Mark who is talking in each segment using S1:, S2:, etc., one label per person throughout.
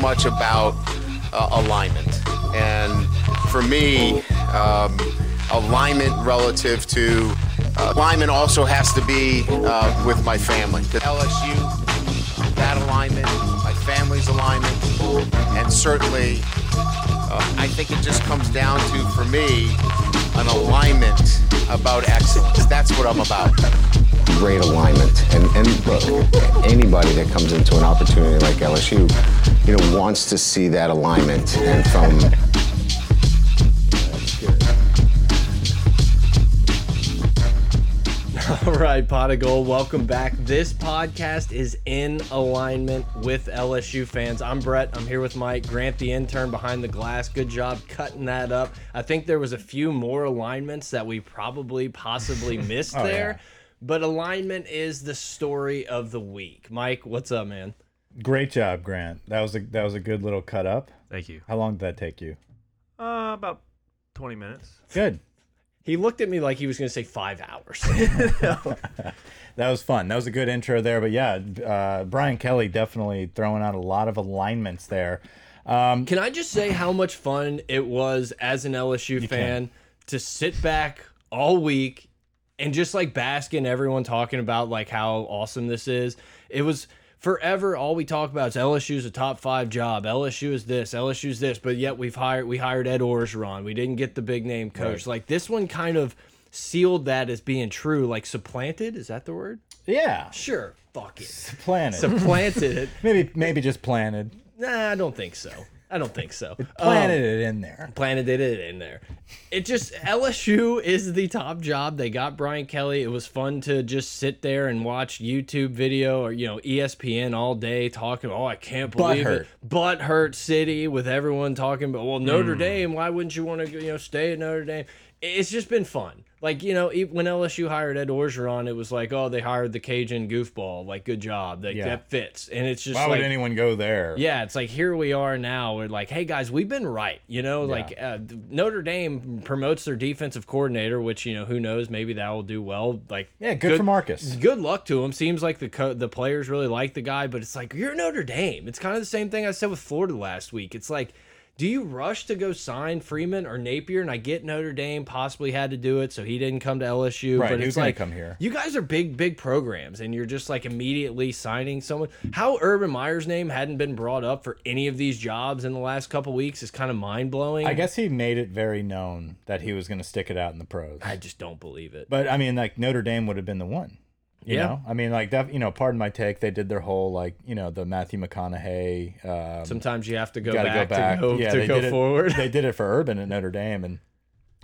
S1: much about uh, alignment. And for me, um, alignment relative to uh, alignment also has to be uh, with my family. The LSU, that alignment, my family's alignment, and certainly uh, I think it just comes down to, for me, an alignment about excellence. That's what I'm about.
S2: great alignment. And, and look, anybody that comes into an opportunity like LSU, you know, wants to see that alignment. And from
S3: All right, Pot of Gold, welcome back. This podcast is in alignment with LSU fans. I'm Brett. I'm here with Mike Grant, the intern behind the glass. Good job cutting that up. I think there was a few more alignments that we probably possibly missed there, but alignment is the story of the week. Mike, what's up, man?
S4: Great job, Grant. That was a that was a good little cut up.
S5: Thank you.
S4: How long did that take you?
S5: Uh, about 20 minutes.
S4: Good.
S3: He looked at me like he was going to say five hours.
S4: That was fun. That was a good intro there. But yeah, uh, Brian Kelly definitely throwing out a lot of alignments there. Um,
S3: Can I just say how much fun it was as an LSU fan to sit back all week and just like bask in everyone talking about like how awesome this is. It was forever all we talk about is LSU's a top 5 job. LSU is this, LSU is this, but yet we've hired we hired Ed Orgeron. We didn't get the big name coach. Like this one kind of sealed that as being true, like supplanted, is that the word?
S4: yeah,
S3: Sure. Fuck it.
S4: planted.
S3: Supplanted it.
S4: maybe maybe just planted.
S3: Nah, I don't think so. I don't think so. Um,
S4: Planted it in there.
S3: planted it in there. It just LSU is the top job. They got Brian Kelly. It was fun to just sit there and watch YouTube video or you know E ESPN all day talking. Oh, I can't believe it. Butt hurt city with everyone talking about well
S4: Mm.
S3: Notre Dame. Why wouldn't you want to you know stay at Notre Dame? It's just been fun. Like you know, e- when LSU hired Ed Orgeron, it was like, oh, they hired the Cajun goofball. Like, good job. Like
S4: Yeah.
S3: that fits. And it's just
S4: Why
S3: like,
S4: would anyone go there?
S3: yeah, it's like here we are now. We're like, hey guys, we've been right. You know, like uh, Notre Dame promotes their defensive coordinator, which you know who knows, maybe that will do well. Like,
S4: Yeah, good, for Marcus.
S3: Good luck to him. Seems like the co the players really like the guy, but it's like you're Notre Dame. It's kind of the same thing I said with Florida last week. It's like. Do you rush to go sign Freeman or Napier? And I get Notre Dame possibly had to do it, so he didn't come to LSU.
S4: Right,
S3: but
S4: he
S3: it's
S4: was gonna
S3: like
S4: come here.
S3: you guys are big, big programs, and you're just like immediately signing someone. How Urban Meyer's name hadn't been brought up for any of these jobs in the last couple weeks is kind of mind blowing.
S4: I guess he made it very known that he was going to stick it out in the pros.
S3: I just don't believe it.
S4: But I mean, like Notre Dame would have been the one. You
S3: Yeah.
S4: know? I mean, like that. You know, pardon my take. They did their whole like you know the Matthew McConaughey. Um,
S3: Sometimes you have to go
S4: Got to go
S3: back,
S4: back.
S3: to go,
S4: yeah,
S3: to
S4: they
S3: go
S4: did it-
S3: forward.
S4: they did it for Urban at Notre Dame, and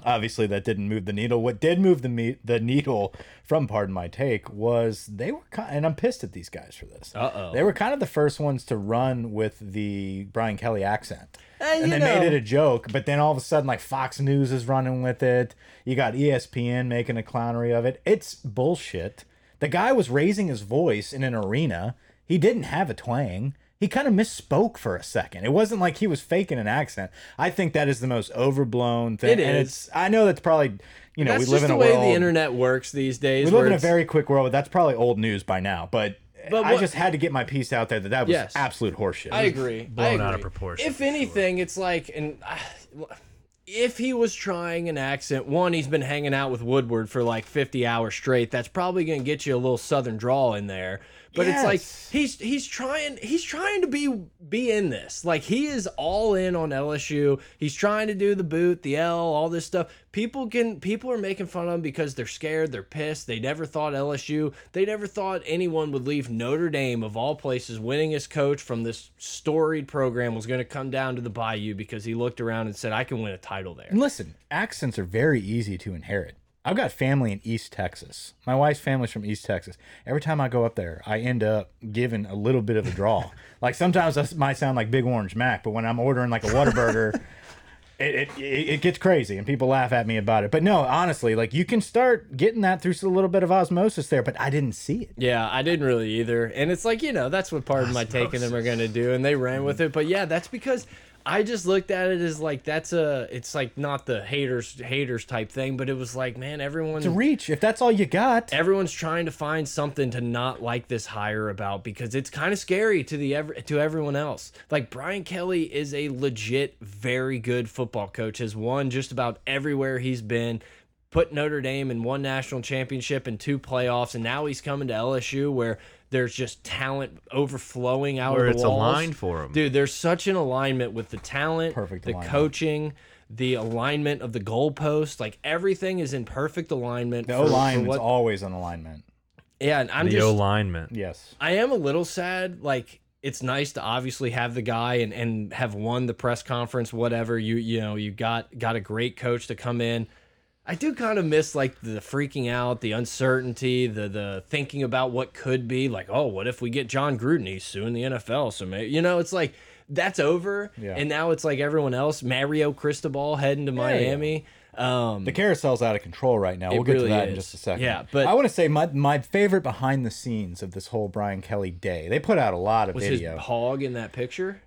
S4: obviously that didn't move the needle. What did move the me the needle from Pardon My Take was they were kind, and I'm pissed at these guys for this.
S3: Uh-oh.
S4: They were kind of the first ones to run with the Brian Kelly accent.
S3: Eh,
S4: and
S3: you
S4: they
S3: know.
S4: made it a joke, but then all of a sudden, like Fox News is running with it. You got E ESPN making a clownery of it. It's bullshit. The guy was raising his voice in an arena. He didn't have a twang. He kind of misspoke for a second. It wasn't like he was faking an accent. I think that is the most overblown
S3: It
S4: thing. and
S3: is.
S4: It's, I know that's probably you know
S3: That's
S4: we live
S3: just
S4: in
S3: the
S4: a
S3: way
S4: world.
S3: the internet works these days.
S4: we live
S3: where
S4: in a
S3: it's-
S4: very quick world. But that's probably old news by now. But,
S3: But
S4: I
S3: what-
S4: just had to get my piece out there that that was
S3: Yes.
S4: absolute horseshit.
S3: I agree. I
S5: blown
S3: agree.
S5: out of proportion,
S3: If
S5: for
S3: anything, it's like, and I- if he was trying an accent, one, he's been hanging out with Woodward for like 50 hours straight. That's probably going to get you a little Southern drawl in there. But it's
S4: Yes.
S3: like he's he's trying he's trying to be be in this. Like he is all in on LSU. He's trying to do the boot, the L, all this stuff. People can people are making fun of him because they're scared, they're pissed. They never thought LSU, they never thought anyone would leave Notre Dame of all places winning his coach from this storied program was going to come down to the Bayou because he looked around and said I can win a title there.
S4: And Listen, accents are very easy to inherit. I've got family in East Texas. My wife's family's from East Texas. Every time I go up there, I end up giving a little bit of a draw. like sometimes I s- might sound like Big Orange Mac, but when I'm ordering like a Whataburger, it, it, it it gets crazy and people laugh at me about it. But no, honestly, like you can start getting that through a little bit of osmosis there, but I didn't see it.
S3: Yeah, I didn't really either. And it's like, you know, that's what part of my taking them are going to do. And they ran with it. But yeah, that's because I just looked at it as like that's a it's like not the haters haters type thing, but it was like man, everyone
S4: To reach, if that's all you got,
S3: everyone's trying to find something to not like this hire about because it's kind of scary to the ever to everyone else. Like Brian Kelly is a legit very good football coach. Has won just about everywhere he's been. Put Notre Dame in one national championship and two playoffs, and now he's coming to LSU where there's just talent overflowing out
S5: Where
S3: of the
S5: it's
S3: walls.
S5: aligned for 'em.
S3: Dude, there's such an alignment with the talent,
S4: Perfect
S3: the
S4: alignment.
S3: coaching, the alignment of the goalpost. Like everything is in perfect alignment.
S4: the
S3: for-
S4: O
S3: for
S4: line is
S3: what-
S4: always on alignment.
S3: yeah, and I'm
S5: the
S3: just
S5: alignment.
S4: Yes.
S3: I am a little sad. Like it's nice to obviously have the guy and and have won the press conference, whatever. You you know you got got a great coach to come in. I do kind of miss like the freaking out, the uncertainty, the the thinking about what could be. Like, oh, what if we get John Gruden? He's suing the NFL, so may you know it's like that's over.
S4: Yeah.
S3: And now it's like everyone else, Mario Cristobal heading to Miami. Um,
S4: The carousel's out of control right now.
S3: It
S4: We'll get
S3: really
S4: to that in
S3: is.
S4: just a second.
S3: Yeah, but-
S4: I want to say my my favorite behind the scenes of this whole Brian Kelly day. They put out a lot of
S3: was his
S4: video.
S3: hog in that picture?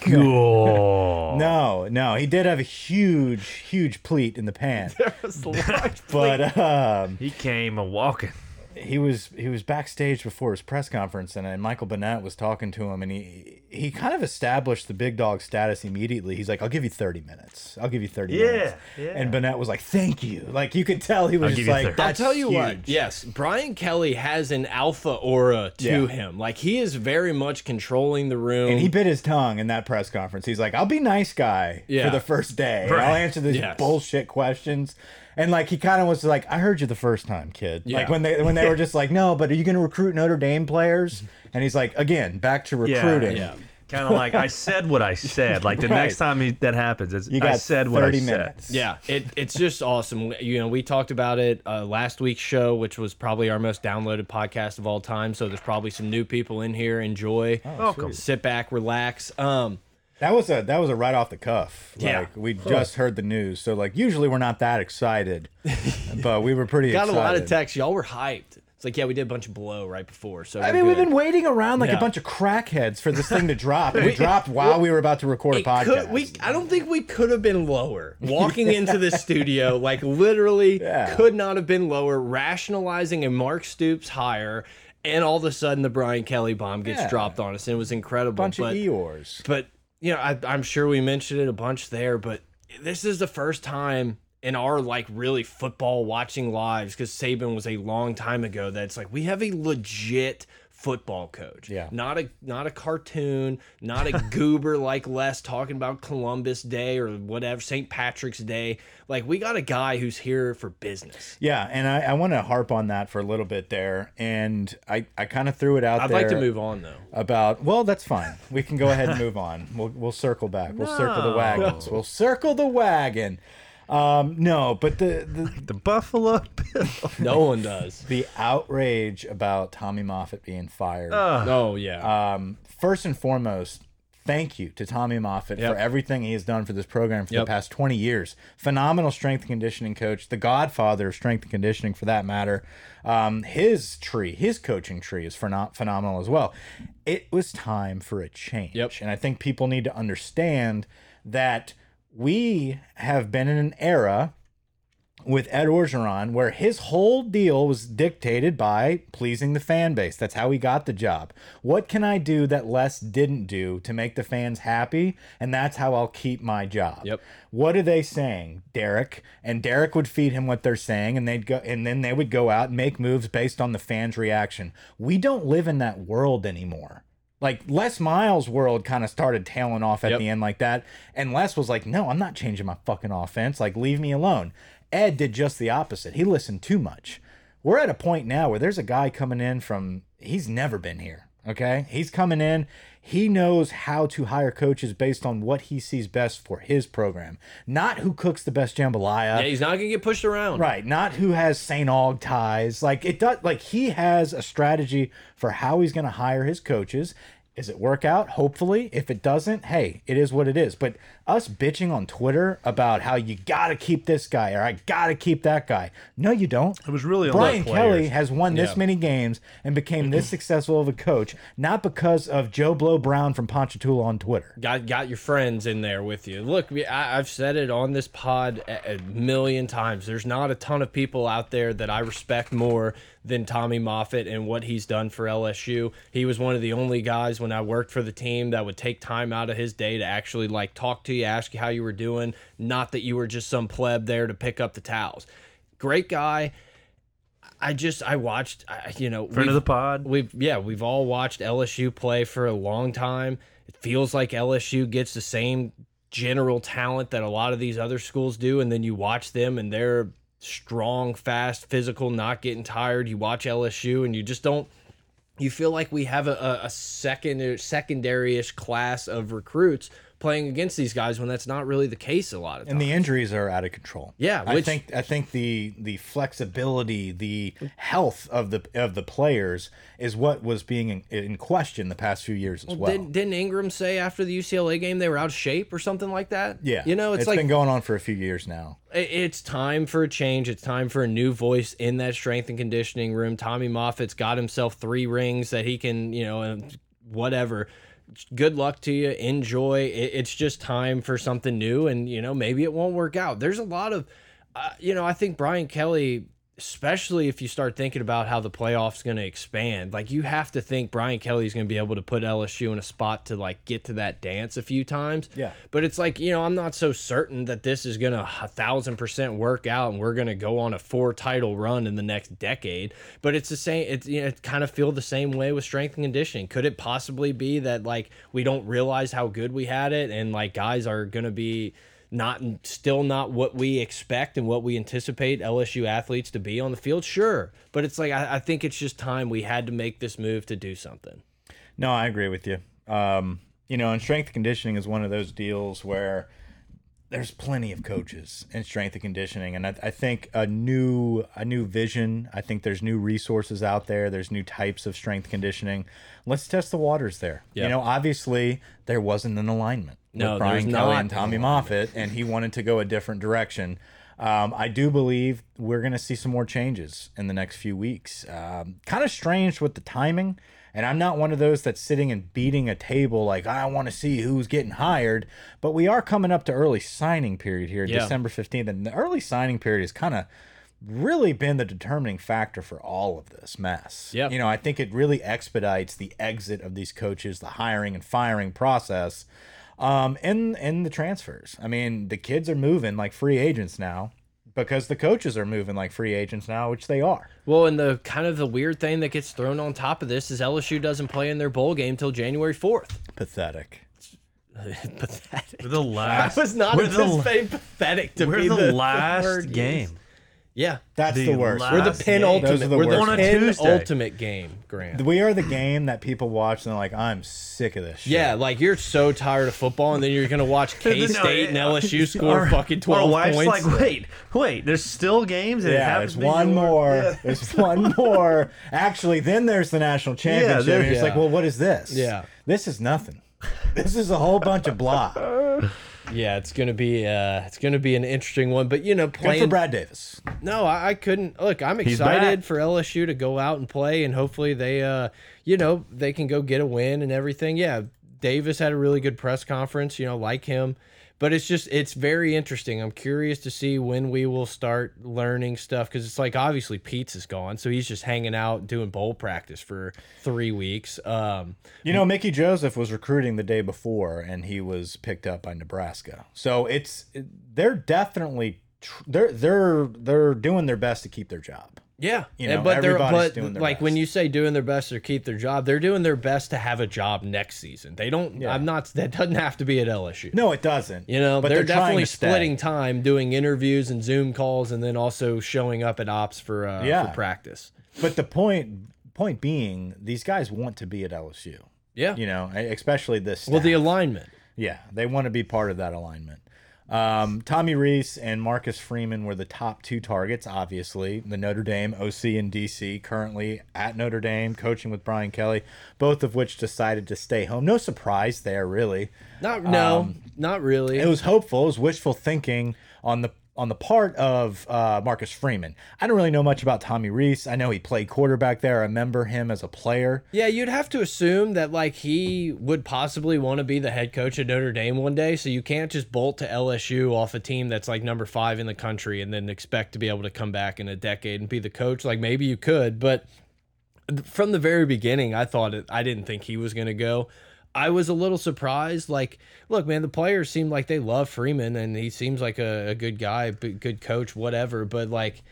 S5: Cool.
S4: No, no, he did have a huge, huge pleat in the pan.
S3: but
S4: But um,
S5: He came a walking.
S4: he was he was backstage before his press conference, and, and Michael Bennett was talking to him, and he he kind of established the big dog status immediately. He's like, "I'll give you thirty minutes. I'll give you thirty
S5: Yeah,
S4: minutes."
S5: yeah.
S4: And Bennett was like, "Thank you." Like you could tell he was
S5: I'll
S4: just
S5: give you
S4: like,
S5: 30.
S3: I'll
S4: "That's
S3: tell you
S4: huge."
S3: what. Yes, Brian Kelly has an alpha aura to
S4: Yeah.
S3: him. Like he is very much controlling the room.
S4: And he bit his tongue in that press conference. He's like, I'll be nice guy
S3: Yeah.
S4: for the first day. and I'll
S5: Right.
S4: answer these
S3: Yes.
S4: bullshit questions. And like he kind of was like, I heard you the first time, kid.
S3: Yeah.
S4: Like when they when they were just like, No, but are you gonna recruit Notre Dame players? And he's like, Again, back to
S5: Yeah,
S4: recruiting.
S3: yeah.
S5: Kind of like I said what I said. Like the
S4: Right.
S5: next time he, that happens, it's,
S4: You got
S5: I said what I
S4: thirty
S5: said.
S4: minutes.
S3: yeah, it, it's just awesome. You know, we talked about it uh, last week's show, which was probably our most downloaded podcast of all time. So there's probably some new people in here. Enjoy,
S4: Oh,
S5: Welcome.
S3: sit back, relax. Um,
S4: That was a that was a right off the cuff. Like
S3: Yeah.
S4: we just heard the news. So like usually we're not that excited. but we were pretty
S3: got
S4: excited.
S3: a lot of texts. Y'all were hyped. It's like, yeah, we did a bunch of blow right before. So
S4: I
S3: we're
S4: mean, we've
S3: good.
S4: been waiting around like
S3: Yeah.
S4: a bunch of crackheads for this thing to drop. And it dropped while we were about to record a
S3: It
S4: podcast.
S3: could- we, I don't think we could have been lower. Walking into the studio, like literally,
S4: Yeah.
S3: could not have been lower. Rationalizing a Mark Stoops hire, and all of a sudden the Brian Kelly bomb gets
S4: Yeah.
S3: dropped on us, and it was incredible.
S4: bunch
S3: but,
S4: of Eeyores.
S3: but you know, I, I'm sure we mentioned it a bunch there, but this is the first time in our like really football watching lives because Saban was a long time ago that it's like we have a legit football coach
S4: Yeah.
S3: not a not a cartoon not a goober like les talking about columbus day or whatever st patrick's day like we got a guy who's here for business
S4: Yeah, and I, I want to harp on that for a little bit there. And I, I kind of threw it out
S3: i'd
S4: there
S3: like to move on though
S4: about, well, that's fine. We can go ahead and move on. We'll, we'll circle back. We'll circle the wagons. We'll circle the wagon. Um, no, but the, the,
S5: The Buffalo Bills.
S3: no one does
S4: the outrage about Tommy Moffat being fired.
S3: oh
S4: uh,
S3: yeah
S4: first and foremost, thank you to Tommy Moffat
S3: Yep.
S4: for everything he has done for this program for
S3: Yep.
S4: the past 20 years. Phenomenal strength and conditioning coach, the godfather of strength and conditioning for that matter. Um, his tree, his coaching tree is phenom phenomenal as well. It was time for a change.
S3: Yep.
S4: And I think people need to understand that we have been in an era with Ed Orgeron, where his whole deal was dictated by pleasing the fan base. That's how he got the job. What can I do that Les didn't do to make the fans happy? And that's how I'll keep my job.
S3: Yep.
S4: What are they saying, Derek? And Derek would feed him what they're saying, and they'd go, and then they would go out and make moves based on the fans' reaction. We don't live in that world anymore. Like Les Miles' world kind of started tailing off at
S3: Yep.
S4: the end like that. And Les was like, no, I'm not changing my fucking offense. Like, leave me alone. Ed did just the opposite. He listened too much. We're at a point now where there's a guy coming in from, he's never been here. Okay. He's coming in. He knows how to hire coaches based on what he sees best for his program, not who cooks the best jambalaya.
S3: yeah he's not gonna get pushed around
S4: Right, not who has St. Aug ties. Like it does like he has a strategy for how he's gonna hire his coaches. Is it work out? Hopefully. If it doesn't, hey, it is what it is. But us bitching on Twitter about how you gotta keep this guy or I gotta keep that guy. No, you don't.
S5: It was really on
S4: Brian
S5: the
S4: Kelly
S5: players.
S4: has won this
S6: Yeah.
S4: many games and became this successful of a coach not because of Joe Blow Brown from Ponchatoula on Twitter.
S3: got got your friends in there with you. Look, we- I, I've said it on this pod a, a million times. There's not a ton of people out there that I respect more than Tommy Moffett and what he's done for LSU. He was one of the only guys when I worked for the team that would take time out of his day to actually like talk to you, ask you how you were doing, not that you were just some pleb there to pick up the towels. Great guy. I just I watched I, you know
S5: Friend of
S3: we've-
S5: the pod.
S3: We've yeah, we've all watched LSU play for a long time. It feels like LSU gets the same general talent that a lot of these other schools do, and then you watch them and they're strong, fast, physical, not getting tired. You watch LSU and you just don't you feel like we have a, a, a second secondary-ish class of recruits playing against these guys when that's not really the case a lot of times.
S4: And the injuries are out of control.
S3: Yeah,
S4: I
S3: which-
S4: think I think the the flexibility, the health of the of the players is what was being in, in question the past few years as well.
S3: Didn't, didn't Ingram say after the UCLA game they were out of shape or something like that?
S4: yeah,
S3: You know, it's,
S4: it's
S3: like
S4: been going on for a few years now.
S3: i- it's time for a change. It's time for a new voice in that strength and conditioning room. Tommy Moffitt's got himself three rings that he can, you know, and whatever. Good luck to you. Enjoy. It, it's just time for something new, and you know maybe it won't work out. There's a lot of, uh, you know, I think Brian Kelly, especially if you start thinking about how the playoffs going to expand, like you have to think Brian Kelly's going to be able to put LSU in a spot to like get to that dance a few times.
S4: Yeah.
S3: But it's like, you know, I'm not so certain that this is going to a thousand percent work out and we're going to go on a four title run in the next decade. But it's the same, it's, you know, it kind of feel the same way with strength and conditioning. Could it possibly be that like we don't realize how good we had it and like guys are going to be not still not what we expect and what we anticipate LSU athletes to be on the field? Sure. But it's like, I, I think it's just time we had to make this move to do something.
S4: No, I agree with you. Um, you know, and strength and conditioning is one of those deals where there's plenty of coaches in strength and conditioning, and I, I think a new a new vision. I think there's new resources out there. There's new types of strength conditioning. Let's test the waters there.
S3: Yeah.
S4: You know, obviously there wasn't an alignment
S3: No,
S4: with Brian
S3: there's
S4: Kelly
S3: not
S4: and Tommy Moffitt, and he wanted to go a different direction. Um, I do believe we're going to see some more changes in the next few weeks. Um, kind of strange with the timing, and I'm not one of those that's sitting and beating a table like I want to see who's getting hired. But we are coming up to early signing period here,
S3: Yeah.
S4: December 15th, and the early signing period has kind of really been the determining factor for all of this mess.
S3: Yeah.
S4: you know, I think it really expedites the exit of these coaches, the hiring and firing process um, and and the transfers. I mean, the kids are moving like free agents now because the coaches are moving like free agents now, which they are.
S3: Well, and the kind of the weird thing that gets thrown on top of this is LSU doesn't play in their bowl game till January 4th.
S4: Pathetic.
S3: pathetic.
S5: We're the last.
S3: was not
S5: we're the, la-
S3: anticipating pathetic to
S5: we're
S3: be
S5: the,
S3: the,
S5: last
S3: word
S5: game.
S3: Yeah.
S4: That's the,
S5: The
S4: worst.
S5: la-
S3: We're the
S5: Last game.
S4: Those are
S3: penultimate.
S4: the
S3: We're
S4: worst.
S5: On a
S3: the
S5: Tuesday.
S3: penultimate game, Grant.
S4: we are the game that people watch and they're like, I'm sick of this. Shit.
S3: Yeah, like you're so tired of football, and then you're gonna watch K State and LSU score
S5: Our-
S3: fucking twelve
S5: Our wife's
S3: points.
S5: like, wait, wait. There's still games. And it
S4: Yeah, there's
S5: happens to be
S4: one
S5: your-
S4: more.
S5: Yeah.
S4: There's one more. Actually, then there's the national championship.
S5: there-
S4: and it's like,
S3: yeah.
S4: well, what is this?
S3: Yeah.
S4: This is nothing. This is a whole bunch of blah. Good
S3: yeah, it's gonna be uh, it's gonna be an interesting one. But you know,
S4: for
S3: playing
S4: Brad Davis.
S3: No, I, I couldn't. Look, I'm excited
S5: back.
S3: for LSU to go out and play, and hopefully they, uh, you know, they can go get a win and everything. Yeah, Davis had a really good press conference. You know, like him, but it's just it's very interesting. I'm curious to see when we will start learning stuff because it's like obviously Pete's is gone, so he's just hanging out doing bowl practice for three weeks. Um,
S4: You know, Mickey Joseph was recruiting the day before, and he was picked up by Nebraska. So it's they're definitely tr they're they're they're doing their best to keep their job.
S3: Yeah,
S4: You
S3: and-
S4: know,
S3: but they're
S4: everybody's
S3: but
S4: doing their
S3: like when
S4: best.
S3: you say doing their best to keep their job, they're doing their best to have a job next season. They don't. I'm not. That doesn't have to be at LSU.
S4: No, it doesn't.
S3: You know,
S4: but
S3: they're,
S4: trying
S3: definitely
S4: to stay.
S3: splitting time doing interviews and Zoom calls and then also showing up at ops for uh,
S4: Yeah.
S3: for practice.
S4: But the point point being, these guys want to be at LSU.
S3: Yeah.
S4: You know, e, especially this.
S3: well, the
S4: staff.
S3: alignment.
S4: yeah, they want to be part of that alignment. Um, Tommy Reese and Marcus Freeman were the top two targets, obviously. The Notre Dame OC and DC currently at Notre Dame, coaching with Brian Kelly, both of which decided to stay home. No surprise there, really.
S3: Not no, not really.
S4: Um, It was hopeful. It was wishful thinking on the on the part of uh, Marcus Freeman. I don't really know much about Tommy Reese. I know he played quarterback there. I remember him as a player.
S3: yeah, you'd have to assume that like he would possibly want to be the head coach at Notre Dame one day, so you can't just bolt to LSU off a team that's like number 5 in the country and then expect to be able to come back in a decade and be the coach. Like maybe you could, but from the very beginning, I thought it, I didn't think he was going to go. I was a little surprised. Like, look, man, the players seem like they love Freeman, and he seems like a, a good guy, b- good coach, whatever. But like,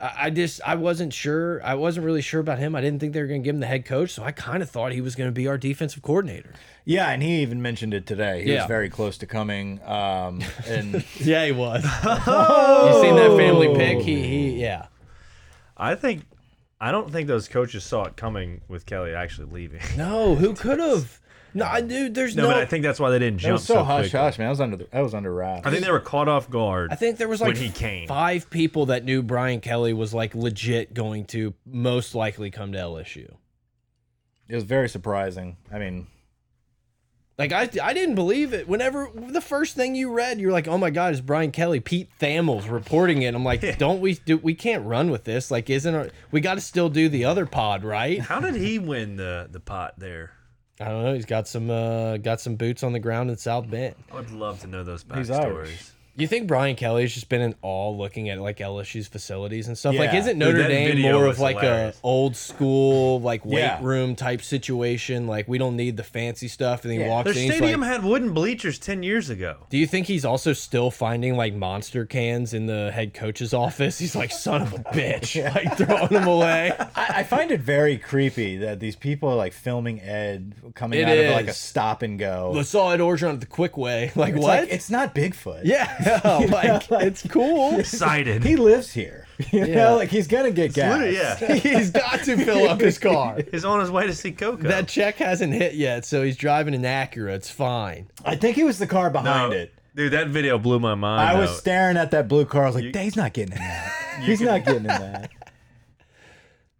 S3: I, I just I wasn't sure. I wasn't really sure about him. I didn't think they were going to give him the head coach, so I kind of thought he was going to be our defensive coordinator.
S4: Yeah, and he even mentioned it today. He
S3: Yeah.
S4: was very close to coming. Um, and
S3: Yeah, he was. you seen that family pick? He, he, yeah.
S5: I think I don't think those coaches saw it coming with Kelly actually leaving.
S3: No, who could have? No, I dude, there's no.
S5: No, but I think that's why they didn't
S4: it
S5: jump
S4: was so, hush
S5: quickly.
S4: hush, man. I was under the, I was under wraps.
S5: I think they were caught off guard.
S3: I think there was like
S5: when he came.
S3: five people that knew Brian Kelly was like legit going to most likely come to LSU.
S4: it was very surprising. I mean,
S3: Like I, I didn't believe it. Whenever the first thing you read, you're like, "Oh my God, it's Brian Kelly, Pete Thamels reporting it." I'm like, "Don't we do? We can't run with this. Like, isn't our, we got to still do the other pod, right?"
S5: How did he win the the pot there?
S3: I don't know. He's got some uh, got some boots on the ground in South Bend.
S5: I would love to know those
S4: He's Irish.
S5: backstories.
S3: You think Brian Kelly's just been in awe looking at like LSU's facilities and stuff? Like,
S4: Yeah.
S3: isn't
S4: Dude,
S3: Notre
S5: that
S3: Dame
S5: video
S3: more
S5: was
S3: of like
S5: hilarious.
S3: a old school like weight
S4: Yeah.
S3: room type situation? Like, we don't need the fancy stuff. And he walks
S5: Their
S3: in. he's
S5: stadium
S3: like-
S5: had wooden bleachers ten years ago.
S3: Do you think he's also still finding like monster cans in the head coach's office? He's like, son of a bitch, like throwing them away.
S4: I, I find it very creepy that these people are like filming Ed coming
S3: It
S4: out of like a
S3: is.
S4: stop and go.
S3: I saw Ed Orgeron the quick way. Like,
S4: it's
S3: what?
S4: Like, it's not Bigfoot.
S3: yeah, like, it's cool.
S5: Excited.
S4: he lives here. You
S3: Yeah.
S4: know, like he's gonna get gas.
S5: Literally, yeah.
S3: he's got to fill up his car.
S5: He's on his way to see Coco.
S3: That check hasn't hit yet, so he's driving an Acura. It's fine.
S4: I think he was the car behind
S5: No.
S4: it.
S5: Dude, that video blew my mind.
S4: I was
S5: though.
S4: staring at that blue car. I was like, "Dang, he's not getting in that. he's not getting in that.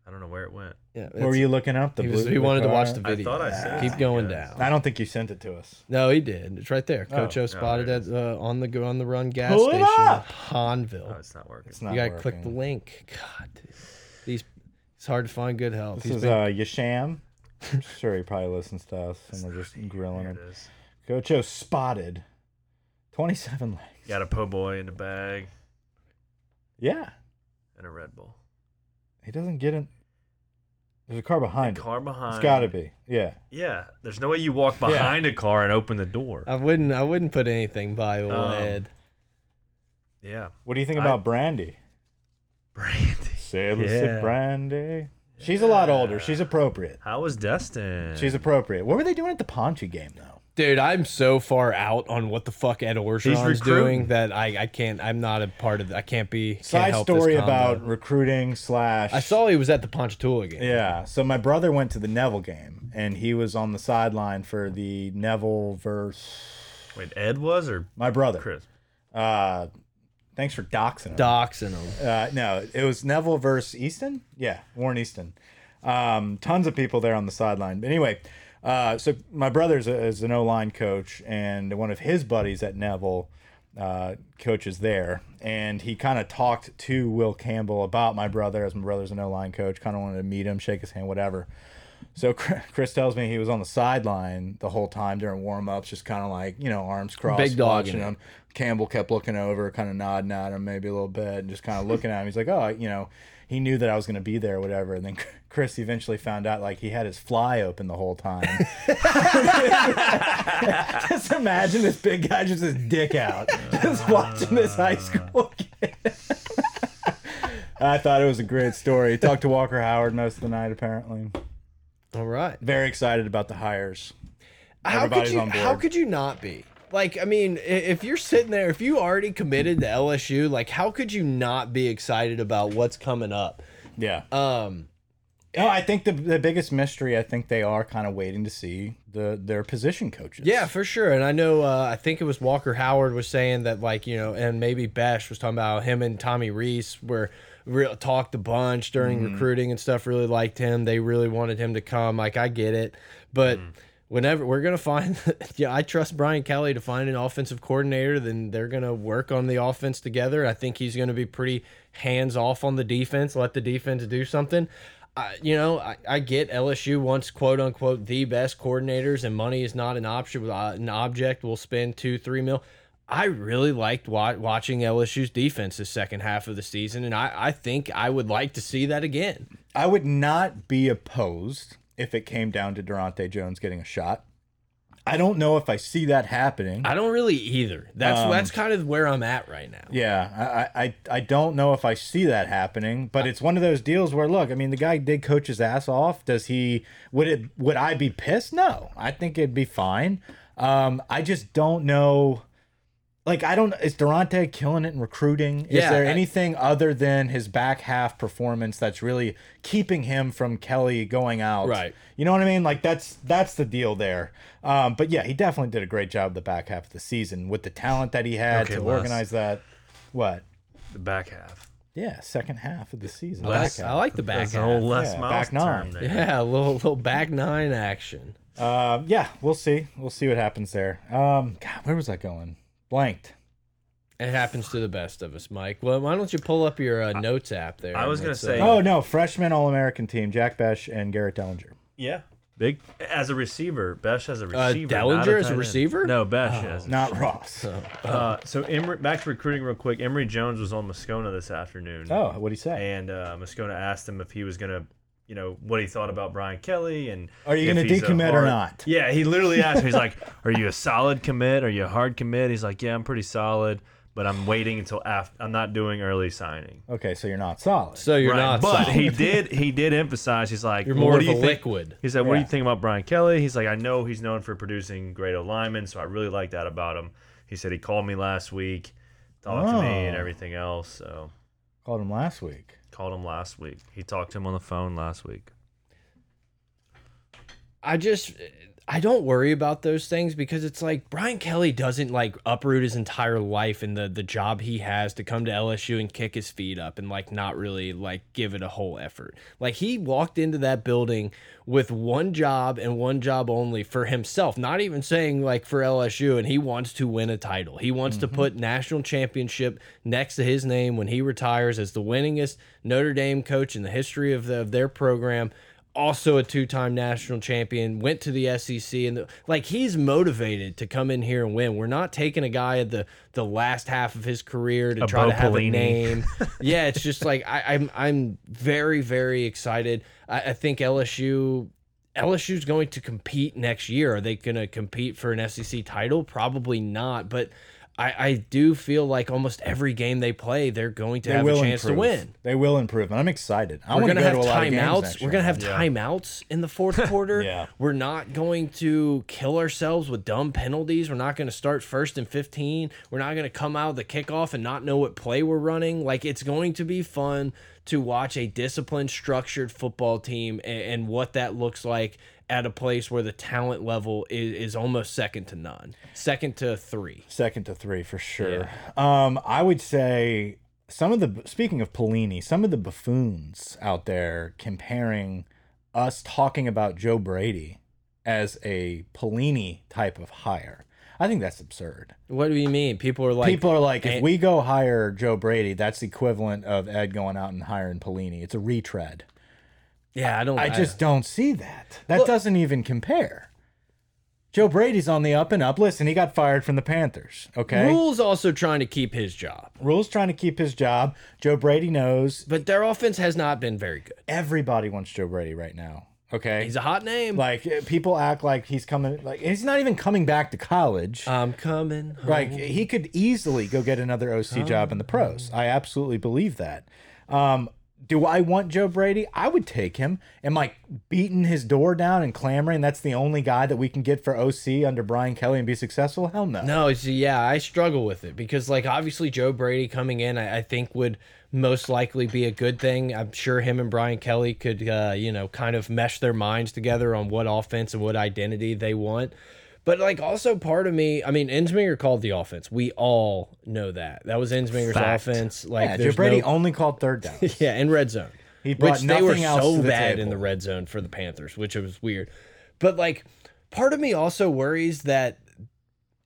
S5: I don't know where it went.
S3: Yeah,
S4: What were you looking up? The
S3: He,
S4: blue.
S3: was, he
S4: the
S3: wanted to
S4: car?
S3: watch the
S5: I
S3: video.
S5: thought I said
S3: Keep
S5: it,
S3: going
S5: yes.
S3: down.
S4: I don't think you sent it to us.
S3: No, he did. It's right there. Coach O spotted
S5: there
S3: at uh, on the go on the run gas
S4: Oh. Pull it
S3: station, in
S4: up.
S5: Oh,
S3: Hanville.
S5: it's not working.
S4: It's not.
S3: You gotta click the
S4: working.
S3: link. God, dude. these it's hard to find good help.
S4: This
S3: He's
S4: is
S3: been-
S4: uh, Yasham. I'm sure he probably listens to us, and we're just grilling
S5: There
S4: him.
S5: it is.
S4: Gocho spotted 27 legs.
S5: Got a po' boy in the bag
S4: Yeah.
S5: and a Red Bull.
S4: He doesn't get in. There's a car behind. him.
S5: Car behind.
S4: It's got to be. Yeah.
S5: Yeah. There's no way you walk behind a car and open the door.
S4: Uh,
S3: I wouldn't. I wouldn't put anything by old
S5: Um,
S3: Ed.
S5: yeah.
S4: What do you think
S5: I-
S4: about Brandy?
S5: Brandy.
S4: Sailor
S5: Yeah.
S4: sip Brandy. She's a lot older. She's appropriate.
S5: How was Destin?
S4: She's appropriate. What were they doing at the Ponchi game, though?
S3: Dude, I'm so far out on what the fuck Ed Orgeron's
S5: recruiting.
S3: doing that I, I can't. I'm not a part of. I can't be. Can't
S4: Side
S3: help this
S4: story
S3: combo.
S4: about recruiting slash.
S3: I saw he was at the Ponchatoula game.
S4: Yeah. So my brother went to the Neville game, and he was on the sideline for the Neville verse.
S5: Wait, Ed was or
S4: My brother.
S5: Chris?
S4: Uh, thanks for doxing him.
S3: Doxing him.
S4: Uh, no, it was Neville versus Easton. Yeah, Warren Easton. Um, tons of people there on the sideline. But anyway, uh, so my brother's a, is an O line coach, and one of his buddies at Neville uh, coaches there. And he kind of talked to Will Campbell about my brother, as my brother's an O line coach, kind of wanted to meet him, shake his hand, whatever. So Chr- Chris tells me he was on the sideline the whole time during warm ups, just kind of like you know arms crossed,
S3: Big dog in
S4: watching
S3: it.
S4: him. Campbell kept looking over, kind of nodding at him, maybe a little bit, and just kind of looking at him. He's like, oh, you know, he knew that I was going to be there, or whatever. And then Chr- Chris eventually found out like he had his fly open the whole time. just imagine this big guy just his dick out, just watching this high school kid. I thought it was a great story. Talked to Walker Howard most of the night, apparently
S3: All right.
S4: very excited about the hires.
S3: How could
S4: Everybody's
S3: you?
S4: on board.
S3: How could you not be? Like, I mean, i- if you're sitting there, if you already committed to LSU, like, how could you not be excited about what's coming up?
S4: Yeah.
S3: Um,
S4: No, Oh, I think the the biggest mystery. I think they are kind of waiting to see the their position coaches.
S3: Yeah, for sure. And I know, uh, I think it was Walker Howard was saying that, like, you know, and maybe Besh was talking about how him and Tommy Reese were real talked a bunch during recruiting and stuff. Really liked him. They really wanted him to come. Like, I get it, but. Whenever we're gonna find, yeah, I trust Brian Kelly to find an offensive coordinator. Then they're gonna work on the offense together. I think he's gonna be pretty hands off on the defense. Let the defense do something. I, you know, I, I get LSU wants quote unquote the best coordinators, and money is not an option. Uh, an object will spend two, three mil. I really liked wa watching LSU's defense the second half of the season, and I, I think I would like to see that again.
S4: I would not be opposed if it came down to Durante Jones getting a shot. I don't know if I see that happening.
S3: I don't really either. That's that's kind of where I'm at right now.
S4: Yeah, I, I I don't know if I see that happening, but it's one of those deals where look, I mean, the guy did coach his ass off. Does he? Would it? Would I be pissed? No, I think it'd be fine. Um, I just don't know. Like I don't. Is Durante killing it in recruiting?
S3: Yeah,
S4: is there
S3: I-
S4: anything other than his back half performance that's really keeping him from Kelly going out?
S3: Right.
S4: You know what I mean? Like that's that's the deal there. Um, but yeah, he definitely did a great job the back half of the season with the talent that he had
S5: Okay,
S4: to
S5: Les.
S4: organize that. What?
S5: The back half.
S4: Yeah, second half of the season.
S3: I
S4: Back
S3: like, I
S4: half.
S3: like the back
S5: That's
S3: half.
S5: an old Les
S4: Yeah,
S5: Miles
S4: back nine.
S5: term there.
S3: yeah, a little little back nine action.
S4: Um, yeah, we'll see. We'll see what happens there. Um, God, where was I going? Blanked.
S3: It happens to the best of us, Mike. Well, why don't you pull up your uh, notes app there? uh,
S5: I was
S3: and
S5: gonna
S3: let's,
S5: say-
S4: Oh no, freshman All American team: Jack Besh and Garrett Dellinger.
S5: Yeah. Big as a receiver, Besh as a
S3: Uh,
S5: receiver.
S3: Dellinger
S5: not a
S3: as a
S5: tight end.
S3: receiver?
S5: No,
S4: Oh.
S5: Besh as. a-
S4: Not Ross. Oh,
S5: Uh, so Emory, back to recruiting real quick. Emory Jones was on Moscona this afternoon.
S4: Oh, what'd he say?
S5: And uh, Moscona asked him if he was gonna, you know, what he thought about Brian Kelly and
S4: Are you
S5: if
S4: gonna
S5: he's a
S4: decommit or
S5: hard-
S4: not?
S5: Yeah, he literally asked me. He's like, "Are you a solid commit? Are you a hard commit?" He's like, "Yeah, I'm pretty solid, but I'm waiting until after. I'm not doing early signing."
S4: Okay, so you're not solid.
S3: So you're
S5: Right,
S3: not.
S5: but
S3: solid.
S5: he did. He did emphasize. He's like,
S3: You're more
S5: what
S3: of
S5: do you
S3: a
S5: think?
S3: liquid.
S5: He said, "What do
S4: Yeah.
S5: you think about Brian Kelly?" He's like, "I know he's known for producing great O linemen, so I really like that about him." He said he called me last week, talked to me, and
S4: Oh.
S5: everything else. So
S4: Called him last week.
S5: called him last week. He talked to him on the phone last week.
S3: I just I don't worry about those things because it's like Brian Kelly doesn't like uproot his entire life and the the job he has to come to LSU and kick his feet up and like not really like give it a whole effort. Like he walked into that building with one job and one job only for himself, not even saying like for LSU and he wants to win a title. He wants to put national championship next to his name when he retires as the winningest Notre Dame coach in the history of, the, of their program also a two-time national champion went to the SEC and the, like he's motivated to come in here and win. We're not taking a guy at the the last half of his career to
S5: A
S3: try
S5: Bo
S3: to have a
S5: Pelini.
S3: name. yeah, it's just like I, I'm I'm very very excited. I, I think LSU LSU's going to compete next year. Are they going to compete for an SEC title? Probably not. But I, I do feel like almost every game they play, they're going to
S4: They
S3: have a
S4: will
S3: chance
S4: improve.
S3: to win
S4: They will improve, and I'm excited. I
S3: we're
S4: want to
S3: gonna
S4: go
S3: have
S4: to a lot of games
S3: timeouts.
S4: next
S3: We're
S4: year.
S3: gonna have timeouts in the fourth quarter.
S4: Yeah.
S3: We're not going to kill ourselves with dumb penalties. We're not gonna start first and fifteen. We're not gonna come out of the kickoff and not know what play we're running. Like it's going to be fun to watch a disciplined, structured football team and, and what that looks like at a place where the talent level is, is almost second to none. Second to three.
S4: second to three for sure. Um, I would say some of the speaking of Pelini, some of the buffoons out there comparing us talking about Joe Brady as a Pelini type of hire. I think that's absurd.
S3: What do you mean? People are like
S4: People are like, if
S3: and-
S4: we go hire Joe Brady, that's the equivalent of Ed going out and hiring Pelini. It's a retread.
S3: Yeah, I don't
S4: I just don't see that. That
S3: Look-
S4: doesn't even compare. Joe Brady's on the up and up. Listen, he got fired from the Panthers. Okay.
S3: Rule's also trying to keep his job.
S4: Rule's trying to keep his job. Joe Brady knows.
S3: But their offense has not been very good.
S4: Everybody wants Joe Brady right now. Okay.
S3: He's a hot name.
S4: like eh, people act like he's coming like he's not even coming back to college.
S3: I'm coming. home.
S4: like he
S3: Oh.
S4: could easily go get another OC job in the pros. I absolutely believe that. Um do I want Joe Brady? I would take him. Am I beating his door down and clamoring? That's the only guy that we can get for OC under Brian Kelly and be successful? Hell no.
S3: No, it's, yeah, I struggle with it because, like, obviously Joe Brady coming in, I, I think would most likely be a good thing. I'm sure him and Brian Kelly could, uh, you know, kind of mesh their minds together on what offense and what identity they want. But like, also part of me, I mean, Ensminger called the offense. We all know that. That was Ensminger's
S5: Fact.
S3: offense. Like,
S4: Yeah, Joe
S3: there's
S4: Brady
S3: no-
S4: only called third down.
S3: Yeah, in red zone.
S4: He
S3: which
S4: brought
S3: they were
S4: nothing else
S3: so
S4: to the
S3: bad in
S4: table.
S3: the red zone for the Panthers, which was weird. But like part of me also worries that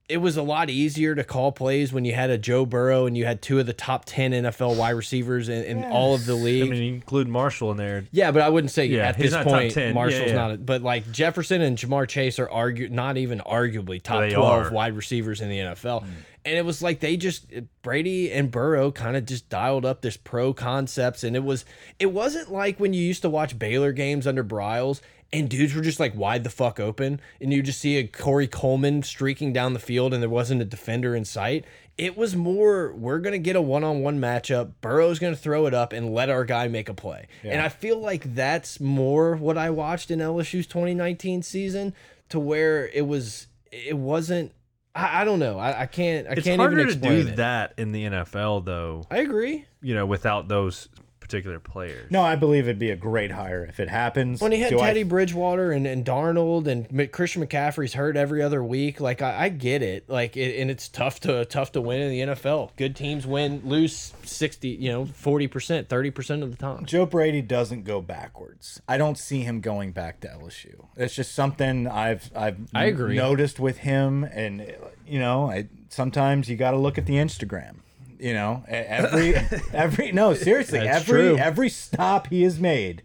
S3: it was a lot easier to call plays when you had a Joe Burrow and you had two of the top 10 NFL wide receivers in, in all of the
S5: I
S3: league.
S5: mean, you include Marshall in there.
S3: yeah, but I wouldn't say
S5: Yeah,
S3: at
S5: he's
S3: this
S5: not top
S3: point
S5: 10. Yeah,
S3: Marshall's
S5: yeah.
S3: not. A, but like Jefferson and Jamar Chase are argu not even arguably top
S5: They
S3: 12
S5: are.
S3: wide receivers in the NFL. And it was like they just Brady and Burrow kind of just dialed up this pro concepts and it was it wasn't like when you used to watch Baylor games under Bryles and dudes were just like wide the fuck open and you just see a Corey Coleman streaking down the field and there wasn't a defender in sight. It was more we're going to get a one-on-one matchup, Burrow's going to throw it up and let our guy make a play. And I feel like that's more what I watched in LSU's 2019 season to where it was it wasn't I, I don't know. I, I can't. I
S5: It's
S3: can't
S5: harder
S3: even
S5: to
S3: explain
S5: do
S3: it.
S5: that in the NFL, though.
S3: I agree.
S5: You know, without those particular players.
S4: No, I believe it'd be a great hire if it happens.
S3: When he had
S4: Do I-
S3: Teddy Bridgewater and, and Darnold and M- Christian McCaffrey's hurt every other week, like I, I get it. Like it, and it's tough to tough to win in the NFL. Good teams win, lose sixty, you know, forty percent, thirty percent of the time.
S4: Joe Brady doesn't go backwards. I don't see him going back to LSU. It's just something I've I've
S3: I agree.
S4: noticed with him, and you know, I, sometimes you got to look at the Instagram. You know, e- every every no seriously
S3: That's
S4: every
S3: true.
S4: every stop he has made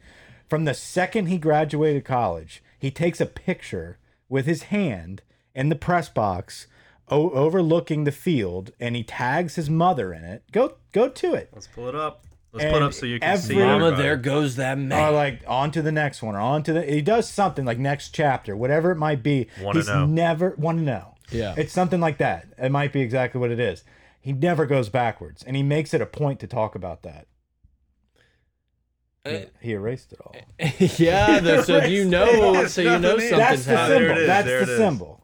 S4: from the second he graduated college, he takes a picture with his hand in the press box. O overlooking the field, and he tags his mother in it. Go, go to it.
S5: Let's pull it up. Let's
S4: And
S5: pull it up so you can see.
S4: every- Mama,
S5: everybody.
S3: goes that
S5: Uh,
S4: Or like on to the next one, or on to the he does something like next chapter, whatever it might be.
S5: Wanna
S4: he's
S5: know.
S4: never want to know.
S3: Yeah.
S4: it's something like that. It might be exactly what it is. He never goes backwards, and he makes it a point to talk about that.
S3: Uh,
S4: He erased it all.
S3: yeah, though, so you know,
S5: There's
S3: so you know
S5: nothing in it.
S3: something's
S4: That's the symbol.
S5: happening. There it
S3: happening.
S5: is,
S4: That's
S5: there
S4: the
S5: it is.
S4: symbol.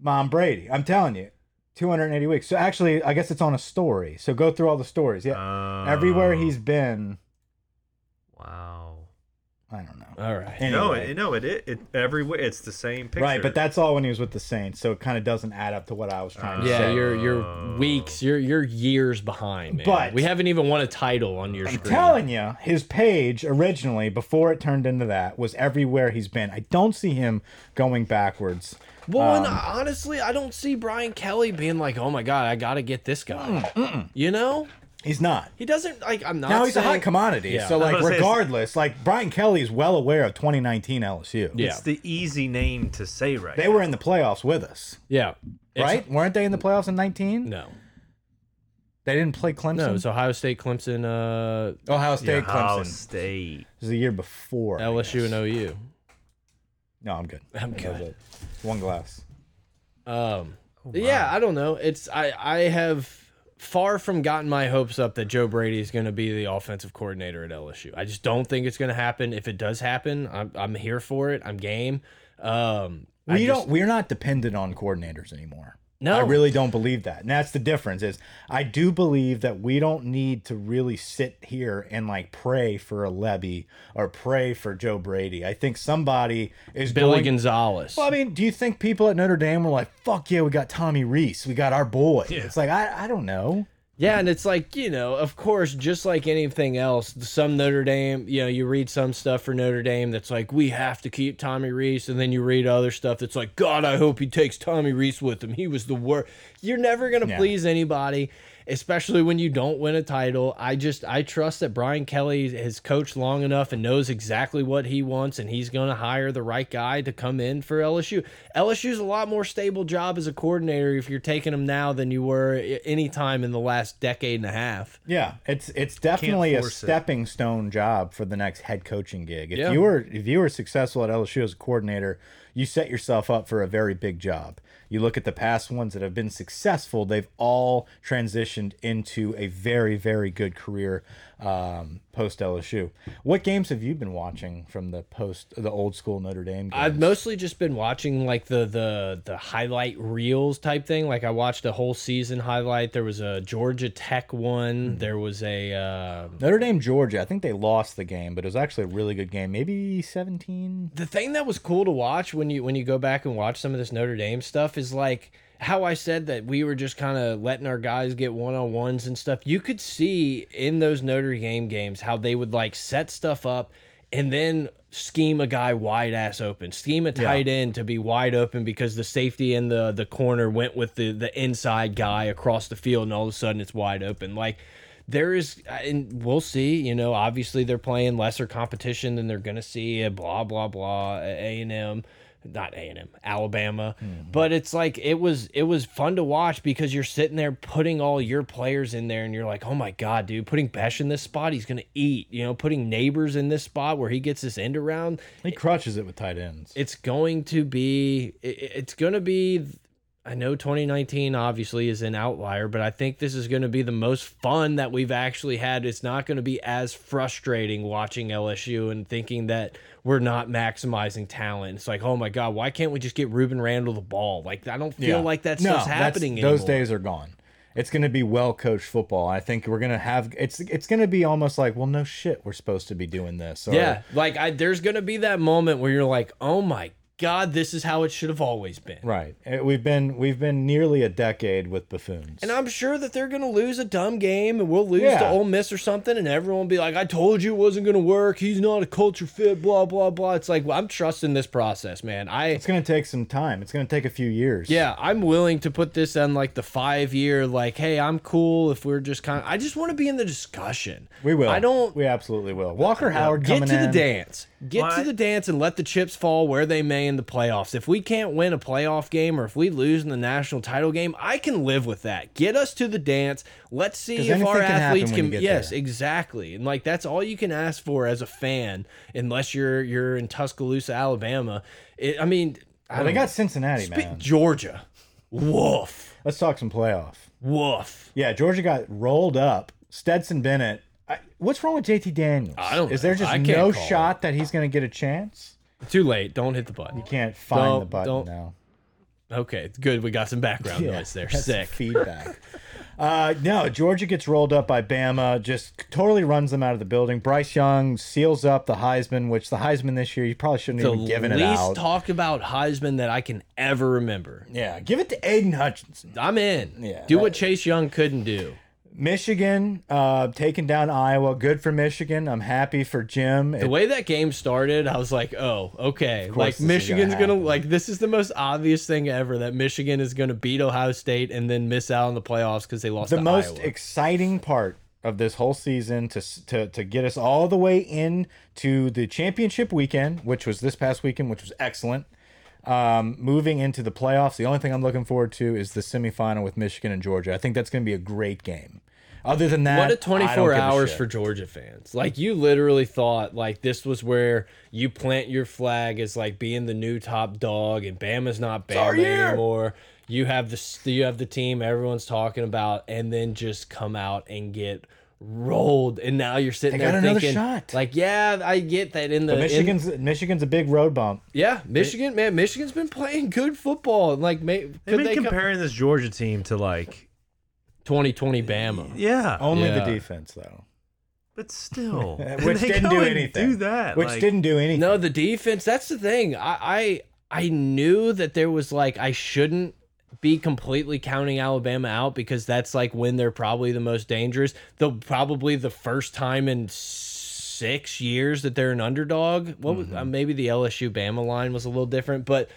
S4: Mom Brady. I'm telling you, 280 weeks. So actually, I guess it's on a story. So go through all the stories. Yeah,
S5: Oh.
S4: everywhere he's been.
S5: Wow.
S4: I don't know.
S3: All right.
S4: Anyway.
S5: No, it, no, it, it, it everywhere. It's the same picture.
S4: Right, but that's all when he was with the Saints, so it kind of doesn't add up to what I was trying to
S3: Yeah,
S4: say.
S3: you're you're weeks, you're you're years behind, man.
S4: But-
S3: we haven't even won a title on your
S4: I'm
S3: screen.
S4: telling you, his page originally, before it turned into that, was everywhere he's been. I don't see him going backwards.
S3: Well,
S4: Um,
S3: and honestly, I don't see Brian Kelly being like, "Oh my god, I got to get this guy." You know,
S4: He's not.
S3: he doesn't like. I'm not.
S4: Mm, Now he's a
S3: saying-
S4: hot commodity.
S3: Yeah.
S4: So,
S5: I was
S4: like,
S5: gonna say, it's-
S4: regardless, like, Brian Kelly's well aware of 2019 LSU.
S3: Yeah,
S5: It's the easy name to say right.
S4: They were in the playoffs with us,
S3: yeah, It's-
S4: right? Weren't they in the playoffs in 19?
S3: No,
S4: They didn't play Clemson.
S3: no. It's Ohio State, Clemson, uh,
S4: Ohio State,
S5: now.
S4: Clemson.
S5: Ohio State.
S4: It was the year before. I
S3: LSU, and OU.
S4: guess. No, I'm good.
S3: I'm
S4: That
S3: good.
S4: was it. One glass.
S3: Um,
S4: Oh
S3: yeah, I don't know. It's I I have far from gotten my hopes up that Joe Brady is going to be the offensive coordinator at LSU. I just don't think it's going to happen. If it does happen, I'm I'm here for it. I'm game. Um, I
S4: We
S3: just-
S4: don't. We're not dependent on coordinators anymore.
S3: No.
S4: I really don't believe that, and that's the difference. Is I do believe that we don't need to really sit here and like pray for a Levy or pray for Joe Brady. I think somebody is
S3: Billy
S4: going.
S3: Gonzalez.
S4: Well, I mean, do you think people at Notre Dame were like, "Fuck yeah, we got Tommy Reese, we got our boy"? It's like I, I don't know.
S3: Yeah, and it's like, you know, of course, just like anything else, some Notre Dame, you know, you read some stuff for Notre Dame that's like, we have to keep Tommy Reese. And then you read other stuff that's like, God, I hope he takes Tommy Reese with him. He was the worst. You're never going to please anybody, especially when you don't win a title. I just, I trust that Brian Kelly has coached long enough and knows exactly what he wants, and he's going to hire the right guy to come in for LSU. LSU's a lot more stable job as a coordinator if you're taking him now than you were i- any time in the last decade and a half.
S4: Yeah, it's it's definitely a
S5: force it.
S4: stepping stone job for the next head coaching gig. If
S3: Yeah.
S4: you were if you were successful at LSU as a coordinator, you set yourself up for a very big job. You look at the past ones that have been successful; they've all transitioned into a very very good career um, post LSU. What games have you been watching from the post the old school Notre Dame? Games?
S3: I've mostly just been watching like the the the highlight reels type thing. Like I watched a whole season highlight. There was a Georgia Tech one. There was a uh,
S4: Notre Dame Georgia. I think they lost the game, but it was actually a really good game. Maybe seventeen.
S3: the thing that was cool to watch when you when you go back and watch some of this Notre Dame stuff is like how I said that we were just kind of letting our guys get one on ones and stuff. You could see in those Notre Dame games how they would like set stuff up and then scheme a guy wide ass open, scheme a tight end to be wide open because the safety in the the corner went with the the inside guy across the field, and all of a sudden it's wide open. Like there is, and we'll see. You know, obviously they're playing lesser competition than they're gonna see. uh, Blah blah blah. A and M. Not A and M, Alabama, but it's like it was it was fun to watch because you're sitting there putting all your players in there, and you're like, oh my god, dude, putting Besh in this spot, he's gonna eat. You know, putting Neighbors in this spot where he gets this end around,
S4: He crushes it with tight ends.
S3: it's going to be it- it's going to be I know 2019 obviously is an outlier, but I think this is going to be the most fun that we've actually had. It's not going to be as frustrating watching LSU and thinking that we're not maximizing talent. It's like, oh my God, why can't we just get Ruben Randall the ball? Like, I don't feel like that stuff's
S4: that's-
S3: happening
S4: Those
S3: anymore.
S4: days are gone. It's going to be well coached football. I think we're going to have it's it's going to be almost like well no shit we're supposed to be doing this. Or,
S3: Yeah. Like, I, there's going to be that moment where you're like, oh my God, this is how it should have always been.
S4: Right. Eh, We've been we've been nearly a decade with buffoons.
S3: And I'm sure that they're going to lose a dumb game and we'll lose to
S4: Yeah.
S3: Ole Miss or something. And everyone will be like, I told you it wasn't going to work. He's not a culture fit, blah, blah, blah. It's like, well, I'm trusting this process, man. I,
S4: it's going to take some time. It's going to take a few years.
S3: yeah, I'm willing to put this on like the five year, like, hey, I'm cool if we're just kind of, I just want to be in the discussion.
S4: We will.
S3: I don't,
S4: We absolutely will. Walker Howard
S3: get
S4: coming
S3: to the
S4: in.
S3: dance. Get to
S5: What?
S3: the dance and let the chips fall where they may in the playoffs. If we can't win a playoff game or if we lose in the national title game, I can live with that. Get us to the dance. Let's see
S4: 'Cause
S3: if our
S4: anything can happen
S3: athletes
S4: when you
S3: can.
S4: get
S3: yes,
S4: there.
S3: exactly. And like that's all you can ask for as a fan, unless you're you're in Tuscaloosa, Alabama. It, I mean, I
S4: Well,
S3: don't
S4: they
S3: know.
S4: got Cincinnati, man.
S3: Speak Georgia. Woof,
S4: Let's talk some playoff.
S3: woof.
S4: Yeah, Georgia got rolled up. Stetson Bennett. I, what's wrong with JT Daniels?
S3: I don't
S4: Is
S3: know.
S4: there just
S3: I can't
S4: no
S3: call it.
S4: shot that he's going to get a chance?
S3: Too late. Don't hit the button.
S4: Can't find
S3: Don't-
S4: the button
S3: don't-
S4: now.
S3: Okay, good. We got some background noise there.
S4: that's
S3: Sick.
S4: feedback. uh, no, Georgia gets rolled up by Bama, just totally runs them out of the building. Bryce Young seals up the Heisman, which the Heisman this year you probably shouldn't
S3: the
S4: even given
S3: least
S4: it out.
S3: talk about Heisman that I can ever remember.
S4: yeah, give it to Aiden Hutchinson.
S3: I'm in.
S4: Yeah,
S3: do what
S4: that-
S3: Chase Young couldn't do.
S4: Michigan uh, taking down Iowa. Good for Michigan. I'm happy for Jim.
S3: The
S4: It-
S3: way that game started, I was like, "Oh, okay." Like
S4: this is gonna
S3: Michigan's gonna,
S4: happen.
S3: like this is the most obvious thing ever that Michigan is gonna beat Ohio State and then miss out on the playoffs because they lost
S4: the
S3: to
S4: most
S3: Iowa.
S4: exciting part of this whole season to, s- to to get us all the way in to the championship weekend, which was this past weekend, which was excellent. Um, moving into the playoffs, the only thing I'm looking forward to is the semifinal with Michigan and Georgia. I think that's going to be a great game. Other than that,
S3: What a
S4: I don't
S3: 24
S4: give a
S3: hours
S4: shit.
S3: for Georgia fans. Like you literally thought like this was where you plant your flag as like being the new top dog and Bama's not
S4: our
S3: Bama
S4: year.
S3: anymore. You have the you have the team everyone's talking about and then just come out and get rolled and now you're sitting
S4: They
S3: there
S4: got another
S3: thinking
S4: shot.
S3: like yeah, I get that in the
S4: But
S3: in-
S4: Michigan's Michigan's a big road bump.
S3: yeah, Michigan man, Michigan's been playing good football and like may,
S5: They've
S3: could
S5: been
S3: they come-
S5: comparing this Georgia team to like,
S3: 2020 Bama.
S5: yeah,
S4: Only
S3: Yeah.
S4: the defense though,
S5: but still,
S4: which
S5: they
S4: didn't
S5: go
S4: do
S5: and
S4: anything.
S5: Do that,
S4: which
S5: like,
S4: didn't do anything.
S3: No, the defense. That's the thing. I, I I knew that there was like I shouldn't be completely counting Alabama out because that's like when they're probably the most dangerous. The probably the first time in six years that they're an underdog. What was uh, maybe the LSU Bama line was a little different, but.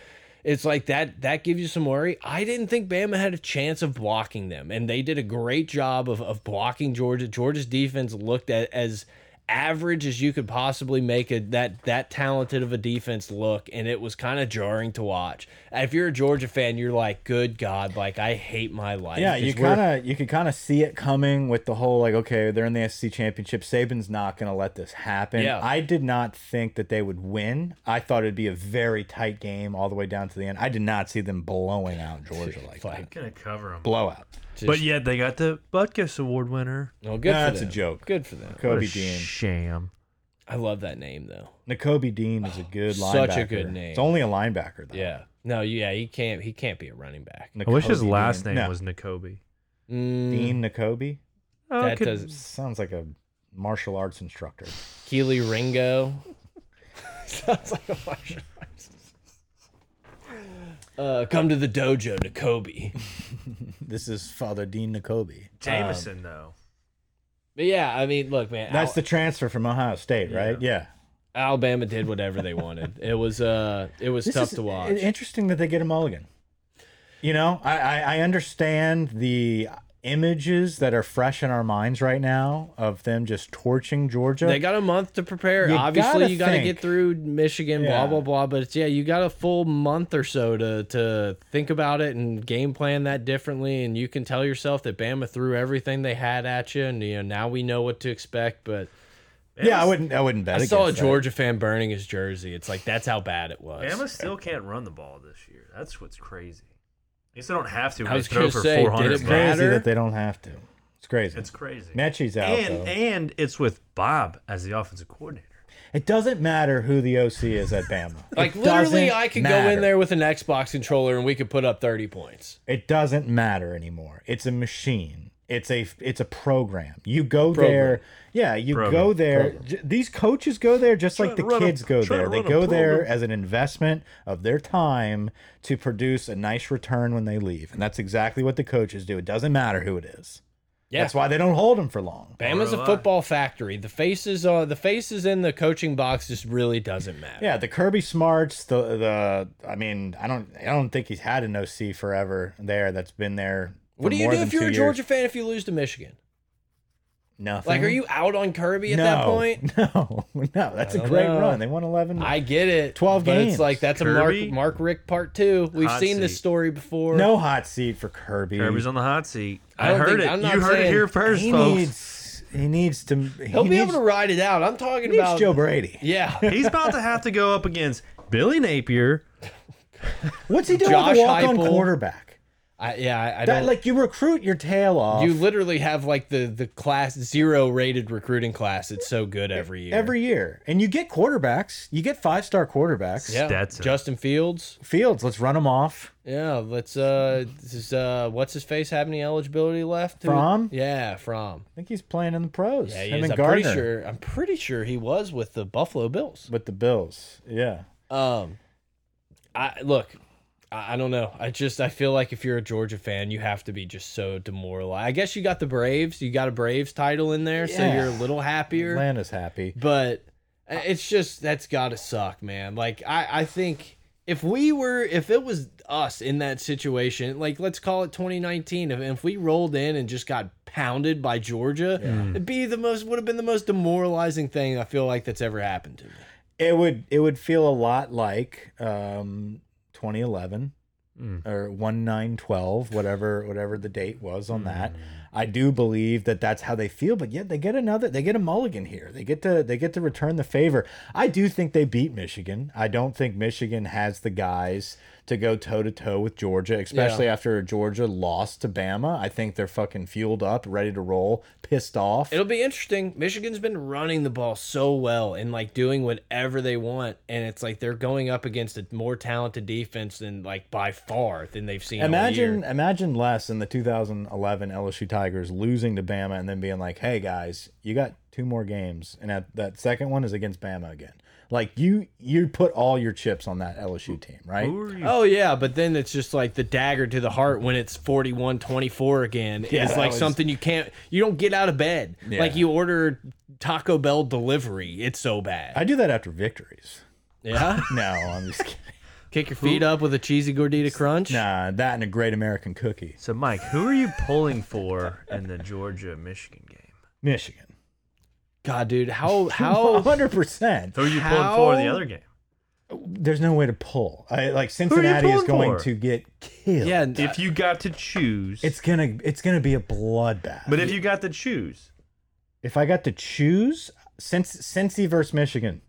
S3: It's like that that gives you some worry. I didn't think Bama had a chance of blocking them, and they did a great job of, of blocking Georgia. Georgia's defense looked at, as average as you could possibly make a that that talented of a defense look, and it was kind of jarring to watch. If you're a Georgia fan, you're like, good God, like I hate my life.
S4: Yeah,
S3: because
S4: you
S3: we're-
S4: kind of you could kind of see it coming with the whole like, okay, they're in the SEC championship. Saban's not going to let this happen.
S3: Yeah.
S4: I did not think that they would win. I thought it'd be a very tight game all the way down to the end. I did not see them blowing out Georgia like that.
S5: gonna cover them.
S4: blowout.
S5: but yet they got the Butkus Award winner.
S3: Well, good
S4: Nah,
S3: for
S4: it's a
S3: them.
S4: joke.
S3: Good for them.
S5: What a
S4: Kobe Dean.
S5: sham.
S3: I love that name though.
S4: N'Kobe Dean is a good linebacker.
S3: Oh, Such a good name.
S4: It's only a linebacker though.
S3: Yeah. No. Yeah. He can't. He can't be a running back.
S5: I wish his
S4: N'Kobe
S5: last
S4: Dean.
S5: name
S4: No,
S5: was Nakobe.
S3: Mm,
S4: Dean N'Kobe.
S5: Oh,
S3: That
S5: could-
S3: does
S4: Sounds like a martial arts instructor.
S3: Keely Ringo. Sounds like a martial arts. Uh, come to the dojo to Kobe.
S4: This is Father Dean N'Kobe.
S5: Jameson though.
S3: But yeah, I mean, look, man.
S4: That's
S3: Al-
S4: the transfer from Ohio State, right? Yeah.
S3: Alabama did whatever they wanted. It was uh, it was
S4: This
S3: tough
S4: is
S3: to watch.
S4: i- Interesting that they get a mulligan. You know, I, I, I understand the images that are fresh in our minds right now of them just torching Georgia.
S3: They got a month to prepare.
S4: You
S3: Obviously,
S4: gotta
S3: you got to
S4: think.
S3: get through Michigan,
S4: Yeah.
S3: blah blah blah. But it's, yeah, you got a full month or so to to think about it and game plan that differently. And you can tell yourself that Bama threw everything they had at you, and you know now we know what to expect. But
S4: yeah, I wouldn't I wouldn't bet.
S3: I saw a
S4: against that.
S3: Georgia fan burning his jersey. It's like that's how bad it was.
S5: Bama still can't run the ball this year. That's what's crazy. At least they don't have to. When
S3: I
S5: they
S3: was
S5: throw
S3: gonna
S5: for
S3: say, did
S5: 400
S3: it
S5: bucks.
S3: matter?
S4: crazy that they don't have to. It's crazy.
S5: It's crazy.
S4: Mechie's out.
S5: and
S4: though.
S5: and it's with Bob as the offensive coordinator.
S4: it doesn't matter who the OC is at Bama.
S3: like
S4: It
S3: literally,
S4: doesn't
S3: I could go
S4: matter.
S3: in there with an Xbox controller and we could put up thirty points.
S4: It doesn't matter anymore. It's a machine. It's a it's a program. You go
S3: Program.
S4: there. Yeah, you
S5: Program.
S4: go there. J- these coaches go there just
S5: Trying
S4: like the
S5: to run a-
S4: kids go
S5: trying
S4: there.
S5: to
S4: They
S5: run a
S4: go there
S5: program.
S4: as an investment of their time to produce a nice return when they leave. And that's exactly what the coaches do. It doesn't matter who it is.
S3: Yeah.
S4: That's why they don't hold them for long.
S3: Bama's a
S5: ROI.
S3: football factory. The faces on the faces in the coaching box just really doesn't matter.
S4: Yeah, the Kirby Smarts, the the I mean, I don't I don't think he's had an OC forever there that's been there. for
S3: What do you
S4: more
S3: do
S4: than
S3: if you're a
S4: two years.
S3: Georgia fan if you lose to Michigan?
S4: Nothing.
S3: Like, are you out on Kirby at
S4: Mm-hmm. no,
S3: that point?
S4: No, no, that's a
S3: don't
S4: great
S3: know.
S4: run. They won 11.
S3: I get it.
S4: 12
S3: but It's
S4: games.
S3: like that's a
S5: Kirby?
S3: Mark Mark Rick part two. We've
S5: Hot
S3: seen this
S5: seat.
S3: story before.
S4: no hot seat for Kirby.
S5: Kirby's on the hot seat.
S3: I
S5: I,
S3: don't
S5: heard
S3: think-
S5: it.
S3: I'm not
S5: you heard it
S3: saying-
S5: here first,
S4: he
S5: folks.
S4: needs he needs to
S3: he'll
S4: he
S3: be
S4: needs,
S3: able to ride it out. I'm talking
S4: he needs
S3: about
S4: Joe Brady.
S3: Yeah,
S5: He's about to have to go up against Billy Napier.
S4: What's he doing
S3: Josh
S4: with a walk-on
S3: Heupel.
S4: quarterback?
S3: I, yeah. I, I
S4: That
S3: don't.
S4: like you recruit your tail off
S3: you literally have like the the class zero rated recruiting class. It's so good every year.
S4: every year, and you get quarterbacks. You get five-star quarterbacks.
S3: yeah.
S5: Stetson.
S3: Justin Fields.
S4: Fields, let's run them off.
S3: Yeah. Let's uh. This is uh. What's his face have any eligibility left? Who-
S4: From?
S3: Yeah. From.
S4: I think he's playing in the pros.
S3: Yeah. He
S4: Him
S3: is.
S4: and
S3: I'm
S4: Gardner
S3: pretty sure. I'm pretty sure he was with the Buffalo Bills.
S4: with the Bills. Yeah.
S3: Um, I look, I, I don't know. I just I feel like if you're a Georgia fan, you have to be just so demoralized. I guess you got the Braves, you got a Braves title in there, so
S4: Yeah.
S3: you're a little happier.
S4: Atlanta's happy.
S3: But it's just that's gotta suck, man. Like I I think. If we were, if it was us in that situation, like let's call it 2019, if, if we rolled in and just got pounded by Georgia, it'd be the most, would have been the most demoralizing thing I feel like that's ever happened to me.
S4: It would it would feel a lot like um 2011 or 1912, whatever whatever the date was on that. I do believe that that's how they feel, but yet they get another they get a mulligan here. They get to they get to return the favor. I do think they beat Michigan. I don't think Michigan has the guys to go toe to toe with Georgia, especially after Georgia lost to Bama. I think they're fucking fueled up, ready to roll, pissed off.
S3: It'll be interesting. Michigan's been running the ball so well and like doing whatever they want, and it's like they're going up against a more talented defense than like by far than they've seen. all
S4: Imagine,
S3: year.
S4: imagine less in the 2011 LSU Tigers losing to Bama and then being like, "Hey guys, you got two more games, and at, that second one is against Bama again." Like you, you put all your chips on that LSU team, right?
S5: Who are you?
S3: Oh yeah, but then it's just like the dagger to the heart when it's 41-24 again.
S4: Yeah,
S3: it's
S4: that
S3: like
S4: was-
S3: something you can't you don't get out of bed.
S4: Yeah.
S3: Like you order Taco Bell delivery. It's so bad.
S4: I do that after victories.
S3: yeah.
S4: No, I'm just kidding.
S3: Kick your feet up with a cheesy gordita crunch.
S4: Nah, that and a great American cookie,
S5: So, Mike, who are you pulling for in the Georgia Michigan game?
S4: Michigan.
S3: God, dude, how how
S4: 100 percent.
S5: Who are you pulling for in the
S3: How-
S5: other game?
S4: There's no way to pull. I, like
S5: you
S4: Cincinnati is
S5: pulling
S4: going
S5: for?
S4: to get killed.
S3: yeah,
S5: If you got to choose,
S4: it's gonna, it's gonna be a bloodbath.
S5: but if you got to choose,
S4: If I got to choose, since Cincy versus Michigan,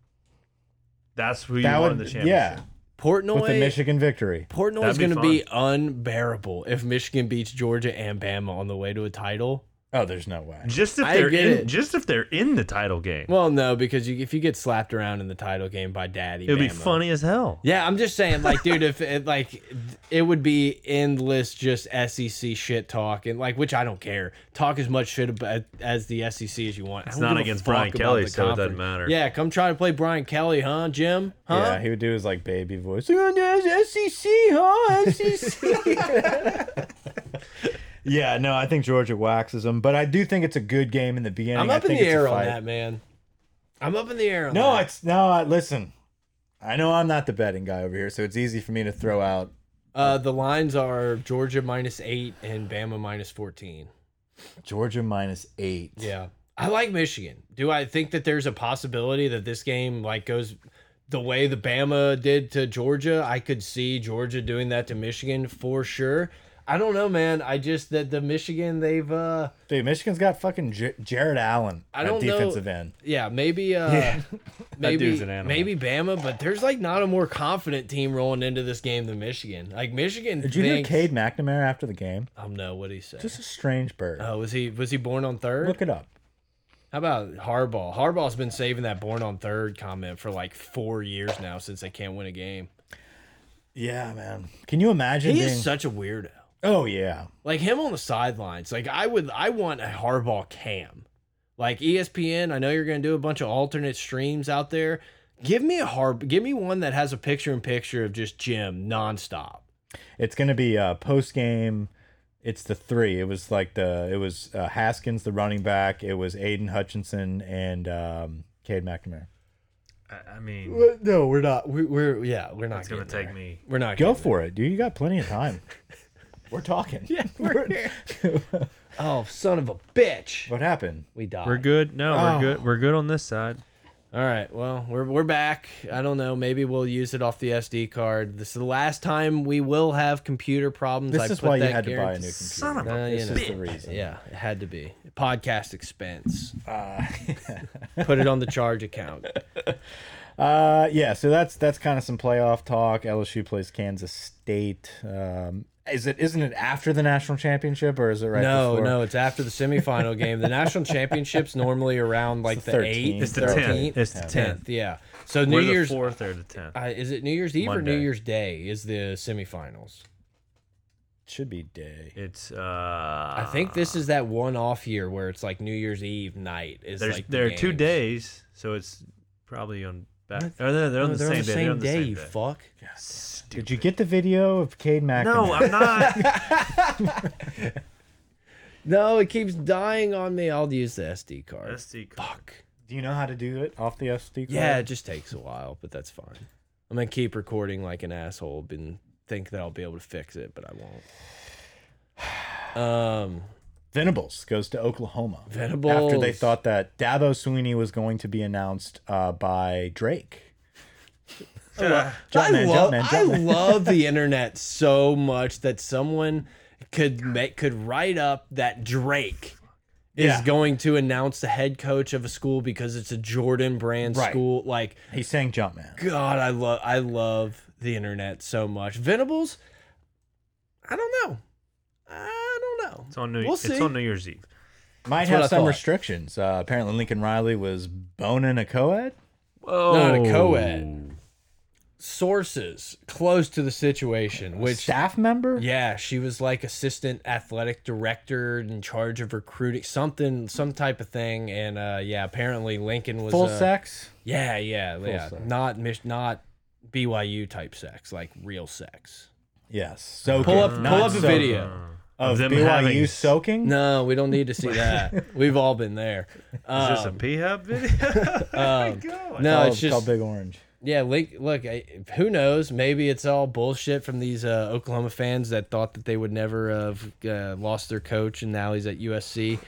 S5: that's who you
S4: that
S5: want in
S4: would
S5: the championship.
S4: yeah,
S3: uh, Portnoy
S4: with the Michigan victory.
S3: Portnoy is
S5: That'd be
S3: going to be unbearable if Michigan beats Georgia and Bama on the way to a title.
S4: Oh, there's no way.
S5: Just if
S3: I
S5: they're
S3: get
S5: in,
S3: it.
S5: just if they're in the title game,
S3: Well, no, because you, if you get slapped around in the title game by Daddy,
S5: it would be
S3: Bama-
S5: funny as hell.
S3: Yeah, I'm just saying, like, dude, if it, like it would be endless just SEC shit talk and like, which I don't care. Talk as much shit about, as the SEC as you want. It's
S5: not against Brian Kelly, so it doesn't matter.
S3: Yeah, come try to play Brian Kelly, huh, Jim? Huh?
S4: Yeah, he would do his like baby voice. "Oh, there's SEC, huh? E SEC. yeah, no, I think Georgia waxes them, but I do think it's a good game in the beginning.
S3: I'm
S4: I
S3: up in
S4: think
S3: the
S4: it's a
S3: air on
S4: fight.
S3: that, man. I'm up in the air. On
S4: No,
S3: that.
S4: it's no. I, listen, I know I'm not the betting guy over here, so it's easy for me to throw out.
S3: Uh, the lines are Georgia minus eight and Bama minus fourteen.
S4: Georgia minus eight.
S3: Yeah, I like Michigan. Do I think that there's a possibility that this game like goes the way the Bama did to Georgia? I could see Georgia doing that to Michigan for sure. I don't know, man. I just that the Michigan they've uh
S4: Dude, Michigan's got fucking J Jared Allen
S3: I
S4: at
S3: don't know-
S4: defensive end.
S3: yeah maybe uh maybe
S5: dude's an animal.
S3: maybe Bama, but there's like not a more confident team rolling into this game than Michigan. Like Michigan,
S4: Did you
S3: thinks,
S4: hear Cade McNamara after the game?
S3: Um, no, what he say?
S4: Just a strange bird.
S3: Oh, was he was he born on third?
S4: Look it up.
S3: How about Harbaugh? Harbaugh's been saving that born on third comment for like four years now since they can't win a game.
S4: Yeah, man. Can you imagine
S3: He
S4: being?
S3: is such a weirdo.
S4: oh yeah.
S3: Like him on the sidelines. Like I would I want a Harbaugh cam. Like E ESPN, I know you're gonna do a bunch of alternate streams out there. Give me a Harb give me one that has a picture in picture of just Jim nonstop.
S4: It's gonna be uh, post game. It's the three. It was like the it was uh, Haskins, the running back. It was Aiden Hutchinson and um, Cade McNamara.
S5: I, I mean,
S3: No, we're not. We, we're yeah, we're not.
S5: it's gonna take me.
S3: We're not.
S4: Go
S3: getting
S4: for it, dude. You got plenty of time. We're talking. Yeah, we're
S3: there. Oh, son of a bitch.
S4: what happened?
S3: We died.
S5: We're good. No,
S3: Oh.
S5: we're good. We're good on this side.
S3: All right. Well, we're we're back. I don't know. Maybe we'll use it off the SD card. This is the last time we will have computer problems.
S4: This
S3: I
S4: is
S3: put
S4: why you
S3: that
S4: had to buy a
S3: guarantee-
S4: new computer.
S5: Son of a.
S3: Uh, you
S4: This
S3: know.
S4: is the reason.
S3: Yeah, it had to be podcast expense. put it on the charge account.
S4: Uh, yeah. So that's that's kind of some playoff talk. LSU plays Kansas State. Um, is it isn't it after the national championship or is it right?
S3: No,
S4: before?
S3: no, it's after the semifinal game. The national championships normally around like
S4: the
S3: the
S4: 13th.
S3: eighth,
S4: It's
S5: the 10th. It's the
S3: 10th. Yeah. So
S5: We're
S3: New
S5: the
S3: Year's
S5: fourth or the tenth.
S3: uh, is it New Year's Eve or
S5: Monday.
S3: New Year's Day is the semifinals.
S4: Should be day.
S5: It's uh.
S3: I
S5: I
S3: think this is that one off year where it's like New Year's Eve night. Is
S5: there's
S3: like the
S5: there are two
S3: games.
S5: days, so it's probably on back. Or they're, they're on
S3: No,
S5: the
S3: they're
S5: same
S3: on the
S5: day.
S3: same
S5: they're on the
S3: day,
S5: same
S3: you
S5: day.
S3: fuck.
S4: Did you get the video of Cade McNamara?
S5: No, I'm not.
S3: No, it keeps dying on me. I'll use the SD card.
S5: SD card.
S3: Fuck.
S4: Do you know how to do it off the SD card?
S3: Yeah, it just takes a while, but that's fine. I'm gonna keep recording like an asshole and think that I'll be able to fix it, but I won't. Um,
S4: Venables goes to Oklahoma.
S3: Venables.
S4: After they thought that Dabo Sweeney was going to be announced uh, by Drake.
S3: I,
S4: Jumpman,
S3: love,
S4: Jumpman,
S3: I
S4: Jumpman.
S3: love the internet so much that someone could make could write up that Drake is
S4: Yeah.
S3: going to announce the head coach of a school because it's a Jordan brand
S4: Right.
S3: school. Like,
S4: He sang Jumpman.
S3: God, I love I love the internet so much. Venables, I don't know. I don't know.
S5: It's on New.
S3: We'll see.
S5: it's on New Year's Eve.
S4: Might
S3: That's what I
S4: have some
S3: thought.
S4: restrictions. Uh, apparently, Lincoln Riley was boning a co-ed.
S5: Whoa.
S3: a
S5: Oh.
S3: co-ed. Sources close to the situation, which
S4: Staff member?
S3: Yeah, she was like assistant athletic director in charge of recruiting, something, some type of thing. And uh, yeah, apparently Lincoln was
S4: Full
S3: uh,
S4: sex?
S3: Yeah, yeah, yeah.
S4: sex.
S3: Not mis- not BYU type sex, like real sex.
S4: Yes. So
S3: Pull up, pull
S4: Not
S3: up a
S4: soaking.
S5: Uh,
S3: video.
S4: Of
S5: them
S4: BYU
S5: having-
S4: soaking?
S3: No, we don't need to see that. We've all been there.
S5: Is
S3: Um,
S5: this a P Hub video? Oh God.
S3: no,
S4: Call,
S3: it's
S4: call
S3: just
S4: Big Orange.
S3: yeah. Link, look, I, who knows? Maybe it's all bullshit from these uh, Oklahoma fans that thought that they would never have uh, lost their coach, and now he's at USC.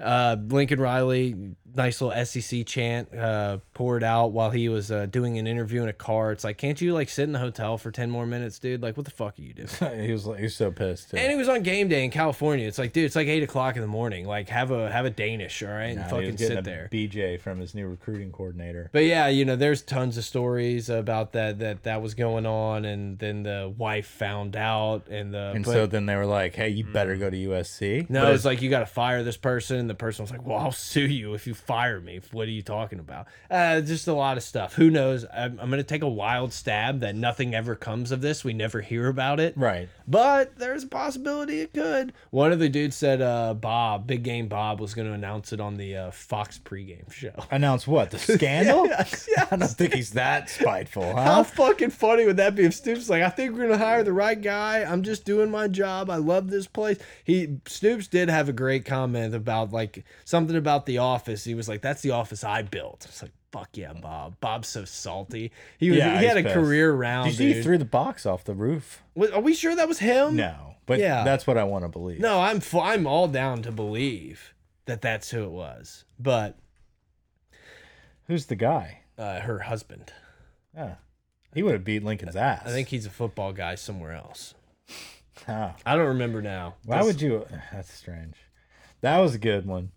S3: Uh, Lincoln Riley, nice little SEC chant uh, poured out while he was uh, doing an interview in a car. It's like, can't you like sit in the hotel for ten more minutes, dude? Like, what the fuck are you doing?
S4: he was like, he was so pissed. too.
S3: And he was on game day in California. It's like, dude, it's like eight o'clock in the morning. Like, have a have a Danish, all right, and
S4: Nah, he was
S3: fucking
S4: getting
S3: sit
S4: a
S3: there.
S4: BJ from his new recruiting coordinator.
S3: But yeah, you know, there's tons of stories about that that that was going on, and then the wife found out, and the
S4: And
S3: but-
S4: so then they were like, "Hey, you
S5: Mm.
S4: better go to USC."
S3: no, it's like you got to fire this person. and The person was like, "Well, I'll sue you if you fire me." What are you talking about? Uh, just a lot of stuff. Who knows? I'm, I'm going to take a wild stab that nothing ever comes of this. We never hear about it,
S4: Right.
S3: But there's a possibility it could. One of the dudes said, uh, "Bob, Big Game Bob was going to announce it on the uh, Fox pregame show."
S4: Announce what the scandal?
S3: Yes, yes.
S4: I don't think he's that spiteful,
S3: How
S4: huh?
S3: fucking funny would that be if Stoops like, I think we're gonna hire the right guy. I'm just doing my job. I love this place. He Stoops did have a great comment about like something about the office. He was like, That's the office I built. It's like, fuck yeah, Bob. Bob's so salty. He was he
S4: he's
S3: had a
S4: pissed.
S3: career round.
S4: Did you see he
S3: dude.
S4: threw the box off the roof?
S3: Was- Are we sure that was him?
S4: No, but
S3: Yeah.
S4: that's what I want to believe.
S3: No, I'm f- I'm all down to believe that that's who it was. But
S4: Who's the guy?
S3: uh, her husband.
S4: Yeah. He would have beat Lincoln's ass.
S3: I think he's a football guy somewhere else.
S4: Ah,
S3: I don't remember now.
S4: why would you? That's strange. That was a good one.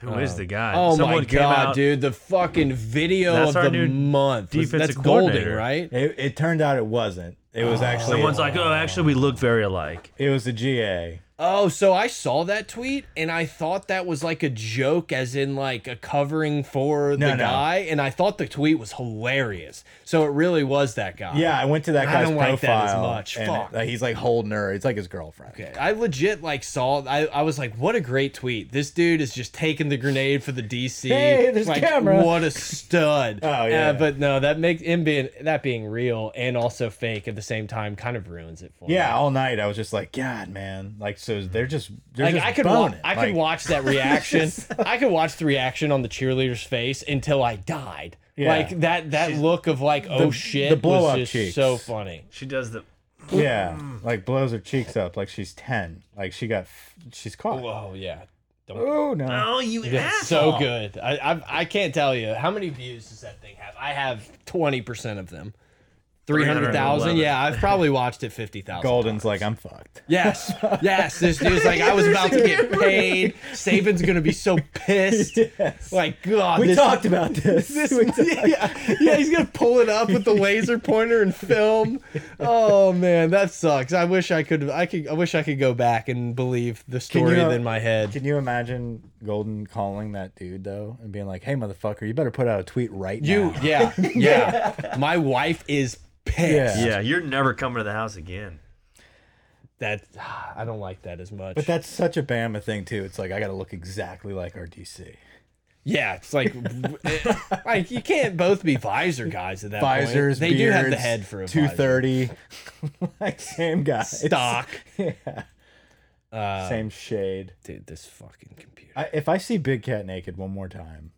S5: Who is the guy?
S3: Oh my
S5: Someone came
S3: god,
S5: out-
S3: dude! The fucking video
S5: That's
S3: of
S5: our
S3: the
S5: new
S3: month. Was-
S5: defensive
S3: That's Golden,
S5: coordinator.
S3: right?
S4: It, it turned out it wasn't. It was actually
S5: Someone's like, oh, actually, we look very alike.
S4: it was a GA.
S3: Oh, so I saw that tweet and I thought that was like a joke, as in like a covering for
S4: No,
S3: the
S4: no.
S3: guy. And I thought the tweet was hilarious. So it really was that guy.
S4: Yeah, I went to that
S3: I
S4: guy's
S3: don't
S4: profile.
S3: like that as much.
S4: and
S3: Fuck.
S4: like, he's like holding her. It's like his girlfriend.
S3: Okay. I legit like saw. I, I was like, "What a great tweet! This dude is just taking the grenade for the DC.
S4: Hey, there's
S3: like,
S4: camera.
S3: What a stud!
S4: Oh, yeah.
S3: Uh, but no, that makes him being that being real and also fake at the same time kind of ruins it for me.
S4: Yeah, all night I was just like, God, man. Like, so they're just they're
S3: Mm-hmm. Like
S4: just
S3: I could, wa-
S4: boning.
S3: I could
S4: Like,
S3: watch that reaction. I could watch the reaction on the cheerleader's face until I died.
S4: Yeah.
S3: Like that, that look of like, oh shit,
S4: the blow
S3: was
S4: up
S3: just
S4: cheeks.
S3: so funny.
S5: She does the.
S4: Yeah,
S3: Mm.
S4: like blows her cheeks up like she's ten. Like she got f- she's caught.
S3: Oh yeah, Don't-
S4: Oh no.
S5: Oh, you
S3: it's so good. I, I I can't tell you how many views does that thing have. I have twenty percent of them. Three hundred thousand.
S5: 311.
S3: Yeah, I've probably watched it fifty thousand.
S4: Golden's like, I'm fucked.
S3: Yes, yes. This dude's like, I was about to get paid. Saban's gonna be so pissed. Like, God,
S4: We
S3: this
S4: talked about this. We talked-
S3: yeah, yeah, he's gonna pull it up with the laser pointer and film. Oh man, that sucks. I wish I could. I could. I wish I could go back and believe the story
S4: you, uh,
S3: in my head.
S4: Can you imagine Golden calling that dude though and being like, "Hey, motherfucker, you better put out a tweet right
S3: You,
S4: now."
S3: yeah, yeah, My wife is pissed.
S4: Yeah.
S5: Yeah, you're never coming to the house again.
S3: That ah, I don't like that as much.
S4: But that's such a Bama thing too. It's like I got to look exactly like our DC.
S3: yeah, it's like, like you can't both be visor guys at that
S4: Visors,
S3: point. They do have the
S4: beards,
S3: head for a
S4: two
S3: visor.
S4: thirty, like same guy,
S3: stock. Uh,
S4: same shade.
S3: Dude, this fucking computer.
S4: I, if I see Big Cat naked one more time,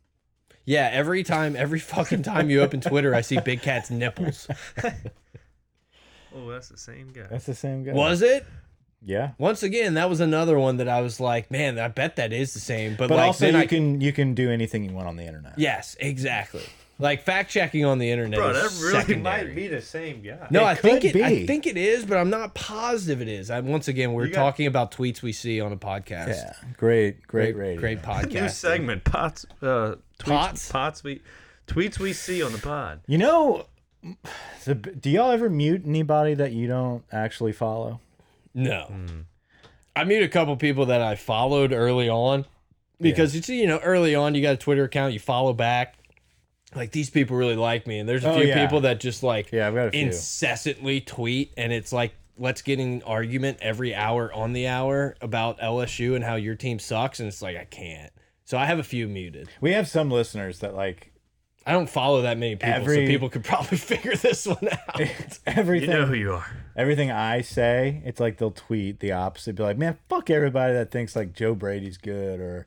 S3: Yeah, every time, every fucking time you open Twitter, I see Big Cat's nipples.
S5: Oh, that's the same guy.
S4: that's the same guy.
S3: Was it?
S4: yeah.
S3: Once again, that was another one that I was like, man, I bet that is the same. But,
S4: But
S3: like,
S4: also,
S3: then
S4: you
S3: I,
S4: can you can do anything you want on the internet.
S3: yes, exactly. Like fact checking on the internet.
S5: Bro,
S3: is
S5: that really
S3: secondary.
S5: might be the same guy.
S3: No,
S4: It
S3: I think it.
S4: could
S3: I
S4: be.
S3: think it is, but I'm not positive it is. I, once again, we're
S5: got-
S3: talking about tweets we see on a podcast.
S4: Yeah. Great, great, radio.
S3: great
S5: New
S3: podcast.
S5: segment. Pots. Uh, tweets,
S3: Pots?
S5: Pots. We, tweets we see on the pod.
S4: You know, so b- do y'all ever mute anybody that you don't actually follow?
S3: No,
S4: Hmm.
S3: I mute a couple people that I followed early on because you see, you know, early on you got a Twitter account, you follow back. Like these people really like me, and there's a
S4: Oh,
S3: few
S4: yeah.
S3: people that just like
S4: Yeah, I've got a few.
S3: incessantly tweet, and it's like let's get in an argument every hour on the hour about LSU and how your team sucks, and it's like I can't. So I have a few muted.
S4: We have some listeners that like
S3: I don't follow that many people,
S4: Every-
S3: so people could probably figure this one out.
S5: You
S4: everything
S5: know who you are.
S4: everything I say. It's like they'll tweet the opposite, be like, "Man, fuck everybody that thinks like Joe Brady's good," or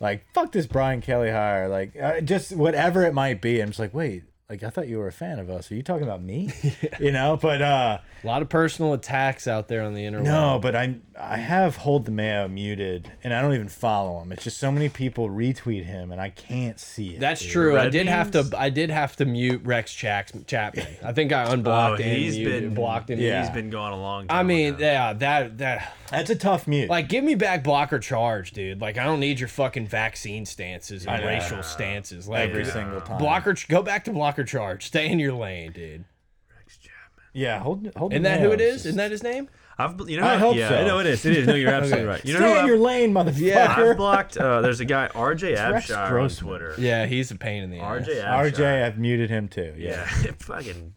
S4: like, "Fuck this Brian Kelly hire," like uh, just whatever it might be. I'm just like, wait. like I thought you were a fan of us. Are you talking about me? You know, but uh
S3: A lot of personal attacks out there on the internet.
S4: no, but I I have hold the mayo muted, and I don't even follow him. It's just so many people retweet him, and I can't see it.
S3: That's true. I
S5: Red
S3: did have
S5: beans?
S3: to. I did have to mute Rex Chax, Chapman. I think I unblocked
S5: oh,
S3: him.
S5: he's
S3: muted,
S5: been
S3: blocked him.
S4: Yeah.
S5: He's been gone a long time.
S3: I mean,
S5: now.
S3: yeah, that that
S4: that's a tough mute.
S3: like give me back block or charge, dude. Like I don't need your fucking vaccine stances and
S4: know.
S3: racial stances. Like
S4: every single time.
S3: block or go back to block or charge. Stay in your lane, dude.
S4: Yeah, hold hold.
S3: Isn't
S4: the
S3: that who
S4: mayo.
S3: it is?
S4: It's
S3: Isn't that his name?
S5: I've, you know,
S4: I hope
S5: yeah,
S4: so.
S5: I know it is. It is. No, you're absolutely right. You know,
S4: Stay
S5: who
S4: in
S5: I've-
S4: your lane, motherfucker.
S5: I've blocked. Uh, there's a guy, RJ
S4: Rex
S5: Abshire on
S4: Grossman.
S5: Twitter.
S3: Yeah, he's a pain in the ass.
S5: RJ Abshire.
S4: RJ, I've muted him too. Yeah.
S5: Yeah, fucking.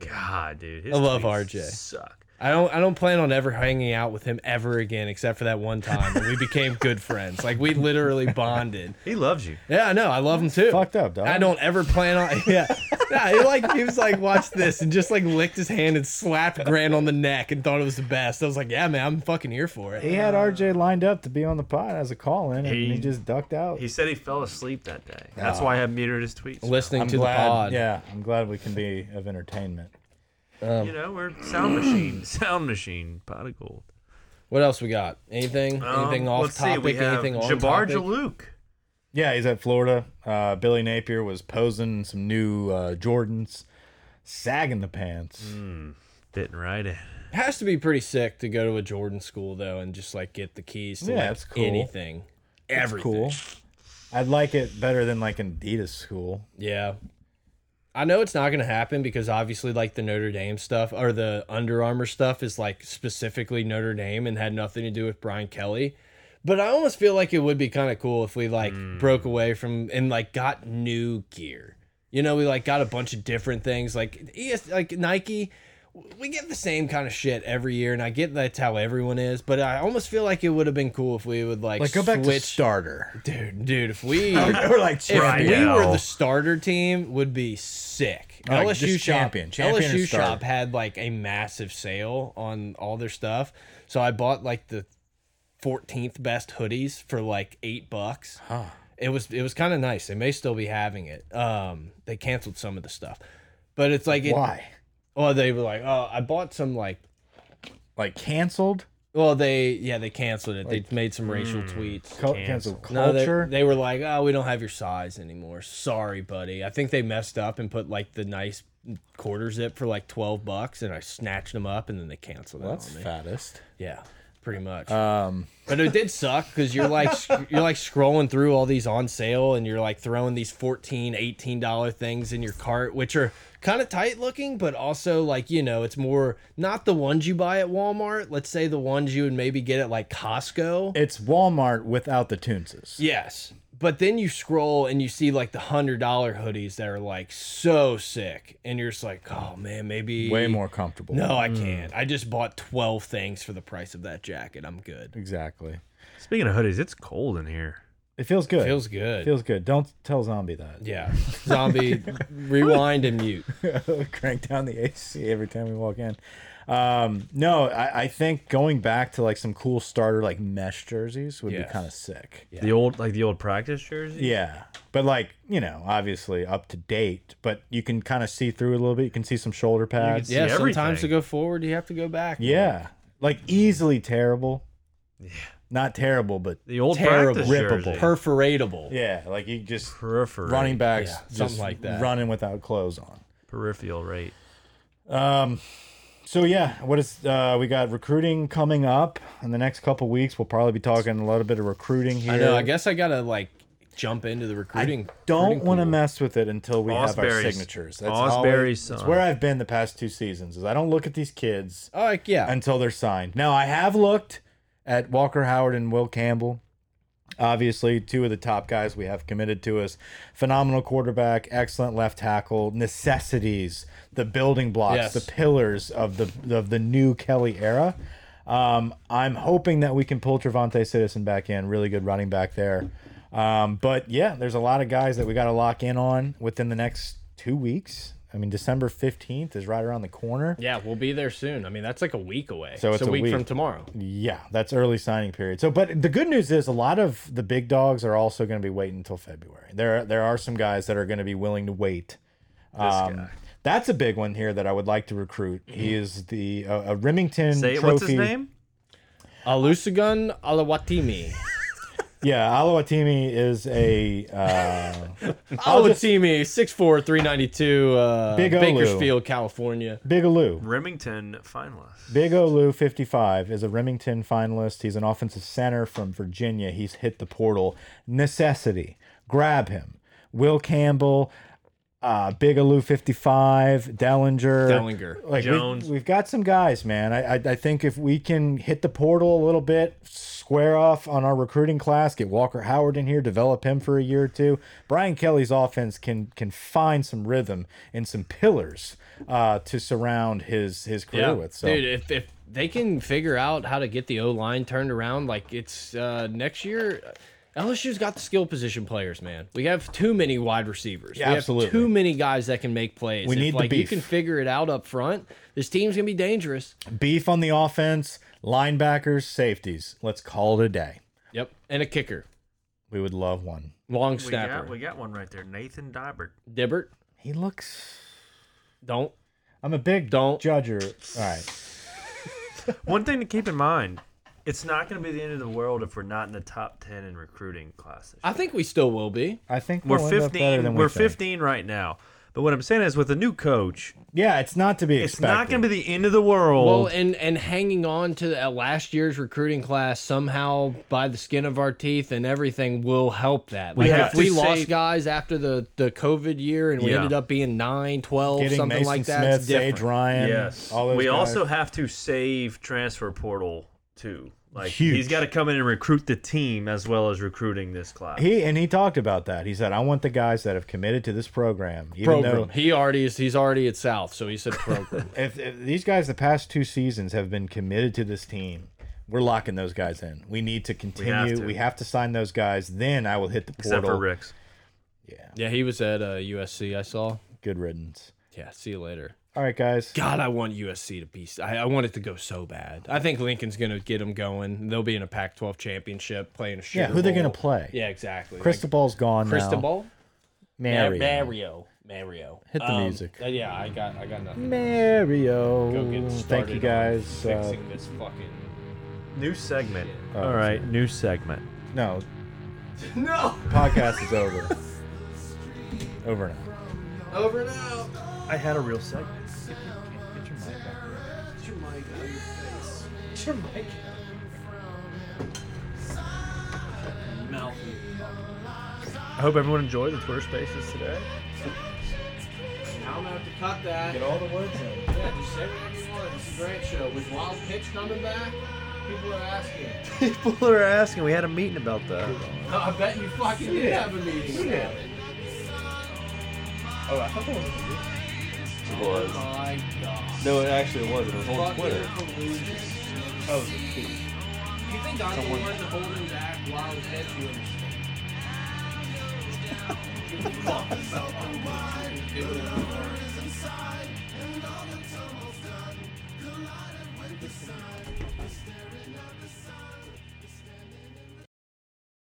S5: God, dude. his
S3: I love
S5: tweets
S3: RJ.
S5: Suck.
S3: I don't I don't plan on ever hanging out with him ever again except for that one time when we became good friends. Like we literally bonded.
S5: He loves you.
S3: Yeah, I know. I love him too.
S4: Fucked up, dog.
S3: I don't ever plan on. Yeah, nah, he like he was like, watch this, and just like licked his hand and slapped Grant on the neck and thought it was the best. I was like, yeah, man, I'm fucking here for it.
S4: He had RJ lined up to be on the pod as a call in, and
S5: He-
S4: he, just ducked out.
S5: He said he fell asleep that day.
S4: Ah.
S5: That's why I have muted his tweets.
S3: Listening
S4: I'm
S3: to
S4: glad.
S3: the pod.
S4: Yeah, I'm glad we can be of entertainment.
S5: You know, we're sound machine, sound machine, pot of gold.
S3: What else we got? Anything?
S5: Um,
S3: anything off
S5: let's see,
S3: topic?
S5: we have
S3: anything on
S5: Jabbar
S3: topic?
S5: Jaluk.
S4: Yeah, he's at Florida. Uh, Billy Napier was posing in some new uh, Jordans, sagging the pants.
S3: Mm.
S5: Didn't write it.
S3: Has to be pretty sick to go to a Jordan school though, and just like get the keys to
S4: Yeah,
S3: like,
S4: it's cool.
S3: anything,
S4: That's
S3: everything.
S4: cool. I'd like it better than like an Adidas school.
S3: Yeah. I know it's not going to happen because obviously, like the Notre Dame stuff or the Under Armour stuff is like specifically Notre Dame and had nothing to do with Brian Kelly. But I almost feel like it would be kind of cool if we like broke away from and like got new gear. You know, we like got a bunch of different things like ES, like Nike. We get the same kind of shit every year, and I get that's how everyone is. But I almost feel like it would have been cool if we would like,
S4: Like go back
S3: switch,
S4: to starter.
S3: dude, dude. If we
S4: or like
S3: if
S5: Right
S3: we
S5: now.
S3: were the starter team, would be sick.
S4: Like,
S3: LSU
S4: just
S3: shop,
S4: champion, champion and
S3: LSU
S4: starter.
S3: shop had like a massive sale on all their stuff, so I bought like the 14th best hoodies for like eight bucks.
S4: Ah,
S3: It was it was kind of nice. They may still be having it. Um, they canceled some of the stuff, but it's like it,
S4: Why?
S3: Well, they were like, oh, I bought some like.
S4: Like canceled?
S3: Well, they yeah they canceled it. they made some racial
S4: hmm,
S3: tweets.
S4: Co canceled
S3: No, they,
S4: culture?
S3: they were like, "Oh, we don't have your size anymore. Sorry, buddy." I think they messed up and put like the nice quarter zip for like twelve bucks, and I snatched them up, and then they canceled it
S4: That's uh,
S3: on me.
S4: fattest.
S3: Yeah, pretty much.
S4: Um,
S3: but it did suck because you're like sc- you're like scrolling through all these on sale, and you're like throwing these 14 18 dollar things in your cart, which are kind of tight looking, but also like you know, it's more not the ones you buy at Walmart. Let's say the ones you would maybe get at like Costco.
S4: It's Walmart without the Toonses.
S3: Yes. But then you scroll and you see like the hundred dollar hoodies that are like so sick, and you're just like, oh man, maybe
S4: Way more Mm. comfortable.
S3: No, I can't. I just bought twelve things for the price of that jacket. I'm good.
S4: Exactly.
S5: Speaking of hoodies, it's cold in here.
S4: It feels good.
S3: Feels good.
S4: Feels good. Don't tell Zombie that.
S3: yeah. Zombie, rewind and mute.
S4: crank down the AC every time we walk in. Um, no, I, I think going back to like some cool starter like mesh jerseys would
S3: Yes.
S4: be kind of sick. Yeah.
S5: The old, like the old practice jersey.
S4: But like, you know, obviously up to date, but you can kind of see through a little bit. You can see some shoulder pads.
S3: Yeah. Sometimes
S5: everything.
S3: to go forward, you have to go back.
S4: Yeah. Like easily terrible. Yeah. Not terrible, but
S5: The old
S3: Terrible.
S5: practice
S4: Rippable.
S5: jersey.
S3: Perforatable.
S4: yeah, like you just
S5: Periphery.
S4: running backs
S3: Yeah,
S4: just
S3: something like that.
S4: running without clothes on.
S5: Peripheral rate.
S4: Um, so yeah, what is uh, we got recruiting coming up in the next couple weeks? We'll probably be talking a little bit of recruiting here.
S3: I know. I guess I gotta like jump into the recruiting.
S4: Don't
S3: recruiting
S4: want to
S3: pool.
S4: mess with it until we have our
S5: Osberry's-
S4: signatures.
S5: Osberry's
S4: that's
S5: son.
S4: where I've been the past two seasons. Is I don't look at these kids
S3: Oh, like, yeah.
S4: until they're signed. Now I have looked at Walker Howard and Will Campbell. Obviously, two of the top guys we have committed to us. Phenomenal quarterback, excellent left tackle, necessities, the building blocks,
S3: Yes.
S4: the pillars of the of the new Kelly era. Um, I'm hoping that we can pull Trevante Citizen back in. Really good running back there. Um, but yeah, there's a lot of guys that we got to lock in on within the next two weeks. I mean, December 15th is right around the corner.
S3: Yeah, we'll be there soon. I mean, that's like a week away.
S4: So it's a
S3: week,
S4: week.
S3: from tomorrow.
S4: Yeah, that's early signing period. So, but the good news is a lot of the big dogs are also going to be waiting until February. There, there are some guys that are going to be willing to wait. Um, That's a big one here that I would like to recruit. He is the uh, a Remington
S5: Mm-hmm. Say it.
S4: Trophy.
S5: What's his name?
S3: Alusugun Alawatimi.
S4: Yeah, Alawatimi is a uh,
S3: Alawatimi, 6'4", 392, uh,
S4: Big Olu.
S3: Bakersfield, California.
S4: Bigaloo.
S5: Remington finalist.
S4: Big Olu, 55, is a Remington finalist. He's an offensive center from Virginia. He's hit the portal. Necessity. Grab him. Will Campbell, uh, Big Olu, 55, Dellinger.
S3: Dellinger.
S4: Like
S5: Jones.
S4: We've, we've got some guys, man. I, I, I think if we can hit the portal a little bit, square off on our recruiting class, get Walker Howard in here, develop him for a year or two, Brian Kelly's offense can can find some rhythm and some pillars uh, to surround his his career with. So.
S3: Dude, if, if they can figure out how to get the O line turned around, like it's uh, next year. LSU's got the skill position players, man. We have too many wide receivers.
S4: Yeah,
S3: we have
S4: absolutely.
S3: too many guys that can make plays.
S4: We
S3: if,
S4: need the
S3: like you
S4: beef.
S3: can figure it out up front, this team's gonna be dangerous.
S4: beef on the offense, linebackers, safeties. Let's call it a day.
S3: Yep, and a kicker,
S4: We would love one.
S3: long
S5: We
S3: snapper,
S5: got, we got one right there. Nathan Dibert.
S3: Dibbert.
S4: He looks.
S3: Don't
S4: I'm a big
S3: Don't.
S4: judger. All right.
S5: One thing to keep in mind. It's not going to be the end of the world if we're not in the top 10 in recruiting classes.
S3: I think we still will be.
S4: I think
S5: We're
S4: we'll end up better
S5: 15.
S4: than
S5: We
S4: we
S5: are
S4: think.
S5: 15 right now. But what I'm saying is, with a new coach,
S4: Yeah, it's not to be
S5: it's
S4: expected.
S5: not going to be the end of the world.
S3: Well, and and hanging on to the, uh, last year's recruiting class somehow by the skin of our teeth and everything will help that. Like
S5: have
S3: if we
S5: to
S3: lost
S5: say-
S3: guys after the the COVID year and we
S5: Yeah.
S3: ended up being 9, 12,
S4: Getting
S3: something
S4: Mason
S3: like that,
S4: Smith,
S3: it's different.
S4: Sage Ryan.
S5: yes.
S4: All those
S5: we
S4: guys.
S5: also have to save transfer portal too. Like
S4: Huge.
S5: he's got to come in and recruit the team as well as recruiting this class.
S4: He and he talked about that. He said, "I want the guys that have committed to this program, even
S3: program.
S4: though
S3: He already is he's already at South, so he said program.
S4: if, if these guys the past two seasons have been committed to this team." We're locking those guys in. We need to continue. We have
S5: to.
S4: to, sign those guys. Then I will hit the portal.
S5: except for Ricks.
S3: yeah, he was at uh, USC, I saw.
S4: Good riddance.
S3: Yeah, see you later.
S4: All right, guys.
S3: God, I want USC to be. I, I want it to go so bad. I think Lincoln's going to get them going. They'll be in a Pac 12 championship playing a shit.
S4: Yeah, who they're gonna play?
S3: Yeah, exactly. Like,
S4: Cristobal's gone now.
S3: Cristobal?
S4: Mario.
S3: Mario. Mario.
S4: Hit the music.
S3: uh, yeah, I got I got nothing.
S4: Mario.
S3: Go get
S4: Thank
S3: started
S4: you
S3: on
S4: guys. Uh,
S3: Fixing this fucking
S5: New segment. All right, new segment.
S4: no,
S3: No
S4: podcast is over. over now.
S3: over now.
S5: I had a real segment. I hope everyone enjoyed the Twitter Spaces today.
S3: Now I'm gonna have to cut that. Get all the words out. Yeah, just say whatever you want. It's a great show. With Wild Pitch coming back, people are asking.
S5: People are asking. We had a meeting about that.
S3: I bet you fucking did have a meeting. Yeah.
S6: It was.
S3: Oh My God.
S6: No, it actually wasn't. It was on Twitter.
S3: Oh, you think I'm the one holding back Wild Pitch? You understand?